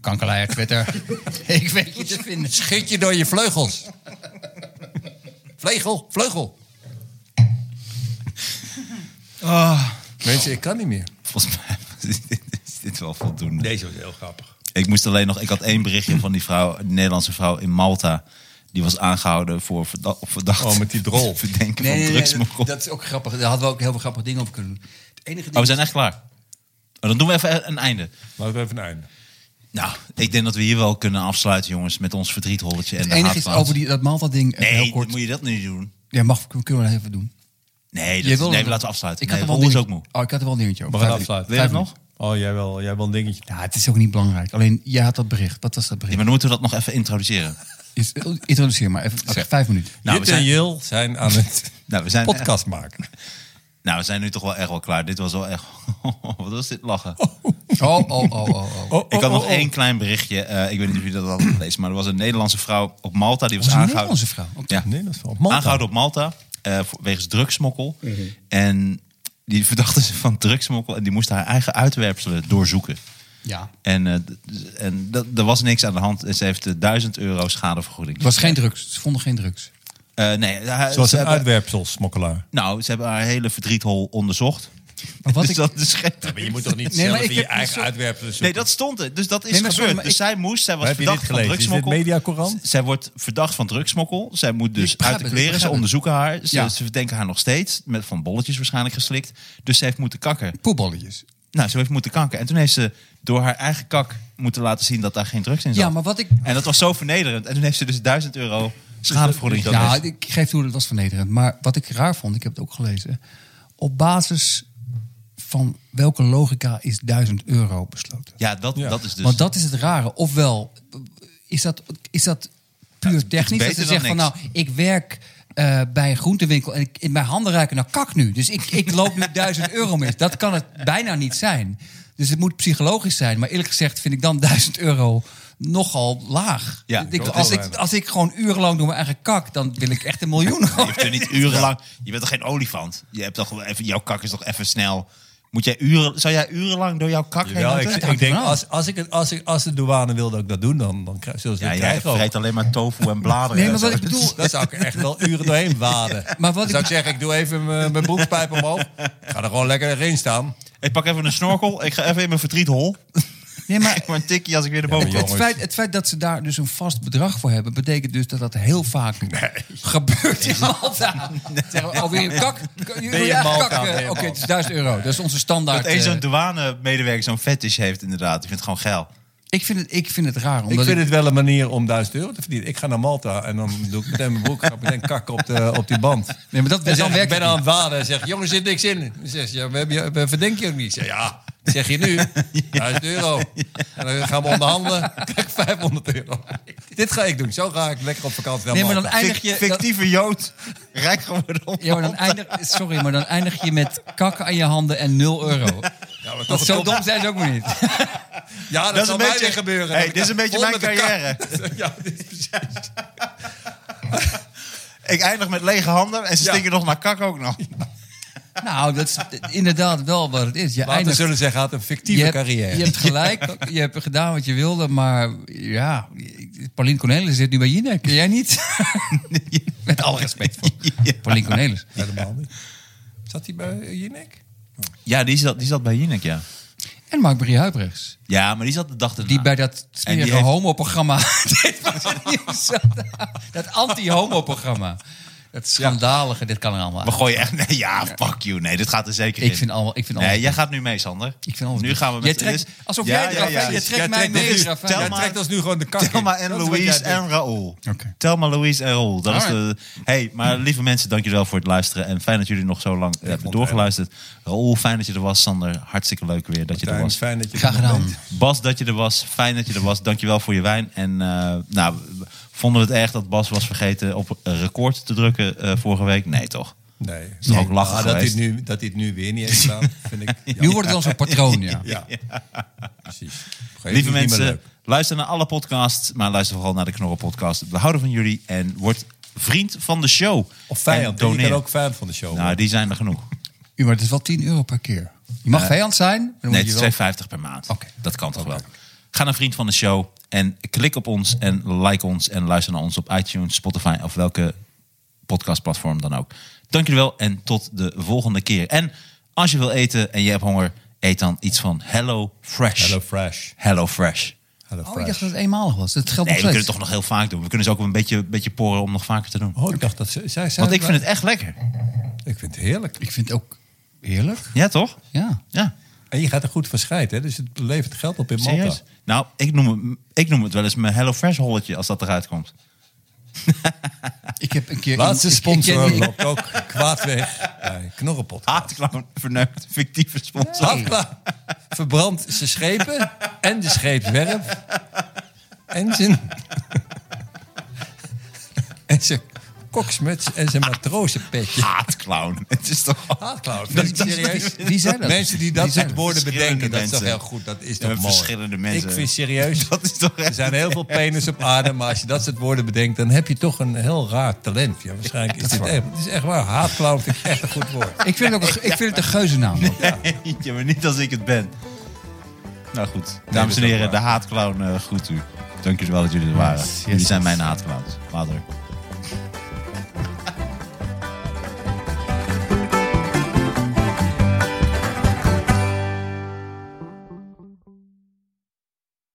S2: Kankerleier Twitter. [LAUGHS] Ik weet
S3: [LAUGHS]
S2: je te vinden.
S3: Schiet je door je vleugels. Vlegel, vleugel. Mensen, ik kan niet meer.
S1: Volgens mij [LAUGHS] is dit wel voldoende.
S3: Deze was heel grappig.
S1: Ik moest alleen nog. Ik had één berichtje van die vrouw, een Nederlandse vrouw in Malta. Die was aangehouden voor verda- op verdacht.
S3: Oh, met die
S1: [LAUGHS]
S3: drol.
S1: Verdenken
S2: Nee, nee,
S1: van
S2: nee,
S1: drugsmokkel.
S2: dat, dat is ook grappig. Daar hadden we ook heel veel grappige dingen over kunnen doen. Het enige
S1: Oh, we
S2: ding
S1: zijn echt klaar. Oh, dan doen we even een einde.
S3: Laten we even een einde.
S1: Nou, ik denk dat we hier wel kunnen afsluiten, jongens, met ons verdrietholletje en
S2: het
S1: de
S2: enige is
S1: haatplaats.
S2: over die, dat Malta-ding. eh, heel
S1: Nee,
S2: kort.
S1: moet je dat nu doen?
S2: Ja, mag, kunnen we dat even doen?
S1: Nee,
S2: Je
S1: dat,
S2: wil
S1: nee
S2: nog-
S1: laten we afsluiten.
S2: Ik
S1: Nee,
S2: had er wel
S1: Roel is
S2: een
S1: ook
S2: dingetje-
S1: moe.
S2: Oh, ik had er wel een dingetje over.
S3: We gaan
S2: Vijf
S3: afsluiten.
S1: Wil je
S2: minuten.
S1: dat nog?
S2: Vijf
S3: Oh, jij wel, jij wel een dingetje.
S2: minuten. Ja, het is ook niet belangrijk. Alleen, jij had dat bericht. Wat was dat
S1: Ja,
S2: bericht?
S1: maar dan moeten we dat nog even introduceren.
S2: Is, oh, introduceer maar. Even, zeg vijf minuten.
S1: Nou,
S3: Jit
S1: we zijn-
S3: en Jil zijn aan het
S1: [LAUGHS] Nou, we zijn
S3: podcast
S1: [LAUGHS]
S3: maken.
S1: Nou, we zijn nu toch wel echt wel klaar. Dit was wel echt... [LAUGHS] Wat was dit lachen?
S2: Oh, oh, oh, oh. oh.
S3: Oh,
S1: Ik
S3: oh,
S1: had nog
S3: oh,
S1: één klein berichtje. Eh, ik weet niet of jullie dat al gelezen, maar er was een Nederlandse vrouw op Malta die was,
S2: Was een
S1: aangehouden.
S2: Nederlandse vrouw? Op Mhm.
S1: ja.
S3: oh. Nee, dat is wel. Malta.
S1: Aangehouden op Malta eh, voor- wegens drugsmokkel. En die [LAUGHS] verdachte ze van drugsmokkel en die moest haar eigen uitwerpselen doorzoeken.
S2: Ja.
S1: En, eh, d- en dat, er was niks aan de hand. En Ze heeft eh, 1000 euro schadevergoeding.
S2: Het was geen drugs. Ze vonden geen drugs.
S1: Eh, nee, haar-
S3: Zoals
S1: ze
S3: een
S1: hebben,
S3: uitwerpselsmokkelaar.
S1: nou, ze hebben haar hele verdriethol onderzocht. [LAUGHS]
S2: wat
S1: dus
S2: ik-
S1: dat is geen...
S3: je moet toch niet
S2: Nee, maar zelf ik je heb niet eigen zo-
S3: uitwerpsel zoeken?
S1: Nee, dat stond er. Dus dat is
S2: Nee, maar
S1: gebeurd.
S2: sorry, maar
S1: dus
S2: ik-
S1: zij moest, zij was
S3: Waar heb je
S1: verdacht
S3: dit
S1: van
S3: gelezen? Is dit
S1: drugsmokkel.
S3: Mediacourant?
S1: Z- Zij wordt verdacht van drugsmokkel. Zij moet dus
S2: Ik begrijp
S1: uit de kleren.
S2: het, ik
S1: Ze
S2: begrijp
S1: onderzoeken haar. Ze,
S2: Ja.
S1: ze verdenken haar nog steeds. Met van bolletjes waarschijnlijk geslikt. Dus ze heeft moeten kakken.
S2: Poebolletjes.
S1: Nou, ze heeft moeten kakken. En toen heeft ze door haar eigen kak moeten laten zien dat daar geen drugs in zat.
S2: Ja, maar wat ik...
S1: En dat was zo vernederend. En toen heeft ze dus 1000 euro schadevergoeding.
S2: Ja,
S1: Ja,
S2: ik geef toe, dat was vernederend. Maar wat ik raar vond, ik heb het ook gelezen. Op basis van welke logica is 1000 euro besloten?
S1: ja, dat,
S3: Ja.
S1: dat is dus...
S2: Want dat is het rare. Ofwel, is dat, is dat puur
S1: is
S2: technisch?
S1: beter
S2: Dat ze
S1: dan
S2: zegt van,
S1: niks.
S2: nou, ik werk eh, bij een groentewinkel en ik, in mijn handen ruiken naar kak nu. Dus ik, ik
S1: [LAUGHS]
S2: loop nu duizend euro mis. Dat kan het bijna niet zijn. Dus het moet psychologisch zijn. Maar eerlijk gezegd vind ik dan duizend euro nogal laag.
S1: Ja,
S2: Ik-
S1: dat
S2: als,
S3: is
S2: ik,
S3: weinig.
S2: als ik gewoon urenlang door mijn eigen kak... dan wil ik echt een miljoen.
S1: Je hoeft er niet urenlang. Je bent toch geen olifant? Je hebt toch wel even, jouw kak is toch even snel. Moet jij uren, zou jij urenlang door jouw kak heen?
S3: Jawel,
S1: moeten?
S3: ik,
S2: hangt
S3: ik denk,
S2: ervan af.
S3: als, als, ik, het- als, ik, als de douane wil dat ik dat doe, dan, dan krijg, zullen ze
S1: Ja,
S3: dat
S1: jij
S3: krijgen ook.
S1: vreet alleen maar tofu en bladeren.
S2: [LAUGHS] Nee, maar wat ik bedoel...
S3: Daar zou ik echt wel uren doorheen
S1: [LAUGHS]
S3: waden.
S2: Maar
S3: Dan
S2: wat
S3: zou ik
S2: ik,
S3: zeggen, ik doe even mijn mijn broekspijp omhoog. Ik ga er gewoon lekker in staan.
S1: Ik pak even een snorkel. Ik ga even in mijn verdriethol. [LAUGHS]
S2: nee, maar
S1: Ik maar een tikje als ik weer naar boven
S3: Ja,
S1: kom.
S2: Het feit, het feit dat ze daar dus een vast bedrag voor hebben, betekent dus dat dat heel vaak gebeurt in Malta. Zeggen we, oh, wil je een kak? Wil je
S3: in
S2: een
S3: Malta,
S2: kak? eh,
S3: ben je in
S2: Oké,
S3: Malta.
S2: het is 1000 euro. Dat is onze standaard.
S1: Dat eens
S2: eh,
S1: zo'n douane-medewerker zo'n fetish heeft inderdaad. Ik vind het gewoon geil.
S2: ik, vind het, ik vind het raar.
S3: Ik
S2: Omdat
S3: vind het wel een manier om 1000 euro te verdienen. Ik ga naar Malta en dan doe ik meteen mijn broek. Ga ik meteen kakken op, de, op die band.
S2: Nee, maar dat, dan
S3: Dan zeg ik, ik
S2: werkt
S3: ben
S2: het
S3: aan
S2: niet.
S3: het waden. en zeg, jongens, er zit niks in. Dan zeg je, ja, we, hebben je, we verdenken je ook niet. Ik Zeg, ja, ik zeg je
S1: [LAUGHS]
S3: nu, 1000 euro. En dan gaan we onderhandelen, [LAUGHS] krijg ik 500 euro. Dit ga ik doen, zo ga ik lekker op vakantie naar
S2: Nee, maar dan
S3: Malta.
S2: eindig je... dan-
S1: Fictieve jood. [LAUGHS] Rijk geworden op
S2: ja, maar
S3: [LAUGHS]
S2: dan eindig, sorry, maar dan eindig je met kak aan je handen en 0 euro.
S3: Ja, maar
S2: Dat
S3: toch-
S2: zo dom zijn ze ook weer niet.
S3: Ja, dat,
S1: Dat is
S3: zal
S1: een
S3: mij
S1: beetje-
S3: weer gebeuren.
S1: Hey,
S3: Dat
S1: dit is
S3: ik-
S1: een beetje
S3: vol
S1: mijn
S3: met de kak-
S1: carrière.
S3: [LAUGHS]
S1: dus-
S3: ja, dit is precies.
S1: Ik eindig met lege handen en ze
S3: Ja.
S1: stinken nog naar kak ook nog.
S2: Nou, dat is inderdaad wel wat het is. Je
S3: Laten
S2: eindigt
S3: zullen zeggen, hij had een fictieve
S2: je hebt-
S3: carrière.
S2: Je hebt gelijk, je hebt gedaan wat je wilde, maar ja, Paulien Cornelis zit nu bij Jinek. Jij niet? Met alle respect
S1: [LAUGHS]
S2: voor Paulien Cornelis.
S3: Helemaal niet. Zat hij bij je nek?
S1: Ja, die zat, die zat bij Jinek, ja.
S2: En Mark-Marie Huibrechts,
S1: Ja, maar die zat de dag erna.
S2: die bij dat
S1: En
S2: smerige
S1: die heeft-
S2: homo-programma... [LAUGHS] Dit was het nieuws. dat anti-homo-programma. Dat schandalige, dit kan er allemaal
S1: We
S2: uit.
S1: gooien echt... Nee, ja, fuck you. Nee, dit gaat er zeker in.
S2: Ik vind allemaal... Ik vind allemaal
S1: Nee, jij gaat nu mee, Sander.
S2: Ik vind alles
S1: nu
S2: goed.
S1: gaan we met
S2: Jij trekt-
S1: dit-
S2: alsof jij eraf- jij trekt mij mee,
S1: dit is-
S2: Rafael.
S1: Telma-
S3: Jij trekt ons nu gewoon de kak
S1: Telma
S3: in.
S1: en
S3: Dat is wat
S1: Louise
S3: jij
S1: en Raoul.
S2: Oké.
S1: Telma, Louise en Raoul. Dat is de...
S2: Alright. Hmm.
S1: hey, maar lieve mensen, dankjewel voor het luisteren. En fijn dat jullie nog zo lang hebben doorgeluisterd. Raoul, fijn dat je er was. Sander, hartstikke leuk weer dat je er
S3: doet.
S1: was.
S3: Fijn dat je er
S2: Graag
S3: nog
S2: gedaan.
S3: bent.
S1: Bas, dat je er was. Fijn dat je er was. Dankjewel voor je wijn. En eh, nou, we vonden we het erg dat Bas was vergeten op een record te drukken eh, vorige week? Nee, toch?
S3: Nee.
S1: is toch ook lachen
S3: dat, hij
S1: geweest?
S3: het nu, dat hij het nu
S1: [LAUGHS]
S3: weer niet heeft gedaan, vind ik... Ja,
S2: Nu wordt het dan zo'n patroon, ja.
S3: ja. precies. Op een
S1: Lieve
S3: gegeven moment is het niet meer
S1: mensen,
S3: leuk.
S1: luister naar alle podcasts, maar luister vooral naar de Knorren podcast. We houden van jullie en word vriend van de show.
S3: Of vijand.
S1: En
S3: Ik ben
S1: doneer.
S3: ook fan van de show.
S1: Nou, die zijn er genoeg.
S2: Ja, maar het is wel 10 euro per keer. Je mag vijand zijn, maar
S1: Nee,
S2: dan moet
S1: het
S2: je
S1: is
S2: wel...
S1: 2,50 per maand.
S2: Oké.
S1: Dat kan toch wel. Ga naar vriend van de show en klik op ons en like ons en luister naar ons op iTunes, Spotify of welke podcastplatform dan ook. Dank jullie wel en tot de volgende keer. En als je wil eten en je hebt honger, eet dan iets van Hello Fresh.
S3: Hello Fresh.
S1: Hello Fresh.
S3: Hello
S2: Oh, ik
S3: Fresh.
S2: dacht dat het eenmalig was. Dat geldt
S1: Nee, we
S2: nog
S1: kunnen het
S2: steeds.
S1: toch nog heel vaak doen. We kunnen ze ook een beetje, beetje poren om nog vaker te doen.
S3: Oh, ik dacht dat ze... Zij, zij
S1: Want ik vind het echt lekker.
S3: ik vind het heerlijk.
S2: Ik vind het ook heerlijk.
S1: Ja, toch?
S2: Ja.
S1: Ja,
S3: En je gaat er goed van scheiden, hè? Dus het levert geld op in Malta.
S1: serieus. Nou, ik noem, het- ik noem het wel eens mijn HelloFresh holletje als dat eruit komt.
S2: Ik heb een keer
S3: Laatste
S2: ik- ik-
S3: sponsor
S2: ik- ik-
S3: loopt ook kwaad weg bij
S1: Ah,
S3: Knorrenpot.
S1: Haatclown verneukt fictieve sponsor.
S3: Hafla verbrandt zijn schepen en de scheepswerf. En zijn... [LAUGHS] En zijn koksmuts en zijn matrozenpetje.
S1: Haatclown. Het is toch...
S3: Haatklauw, Ah, vind
S1: Dat-
S3: ik
S1: dat-
S3: serieus.
S2: Wie zijn dat?
S3: Mensen die dat
S2: Wie zijn
S3: soort
S2: dat?
S3: woorden bedenken, dat is toch
S1: Verschillende
S3: heel goed. Dat is
S1: mensen.
S3: toch
S1: Ja,
S3: mooi.
S1: verschillende mensen.
S3: Ik vind
S1: [LAUGHS]
S3: serieus,
S1: Dat is toch echt-
S3: er zijn heel veel penis op aarde, maar als je dat soort woorden bedenkt, dan heb je toch een heel raar talent. Ja, waarschijnlijk is dit echt, het is echt waar. Haatklauw vind ik echt een goed woord.
S2: Ik vind het ook een, ik vind het een geuzennaam.
S1: Ja, maar niet als ik het ben. Nou goed.
S3: dat
S1: Dames
S3: is
S1: en
S3: ook
S1: heren,
S3: waar.
S1: de haatclown eh groet u. Dank jullie wel dat jullie er waren. Jullie zijn mijn haatclowns. Later.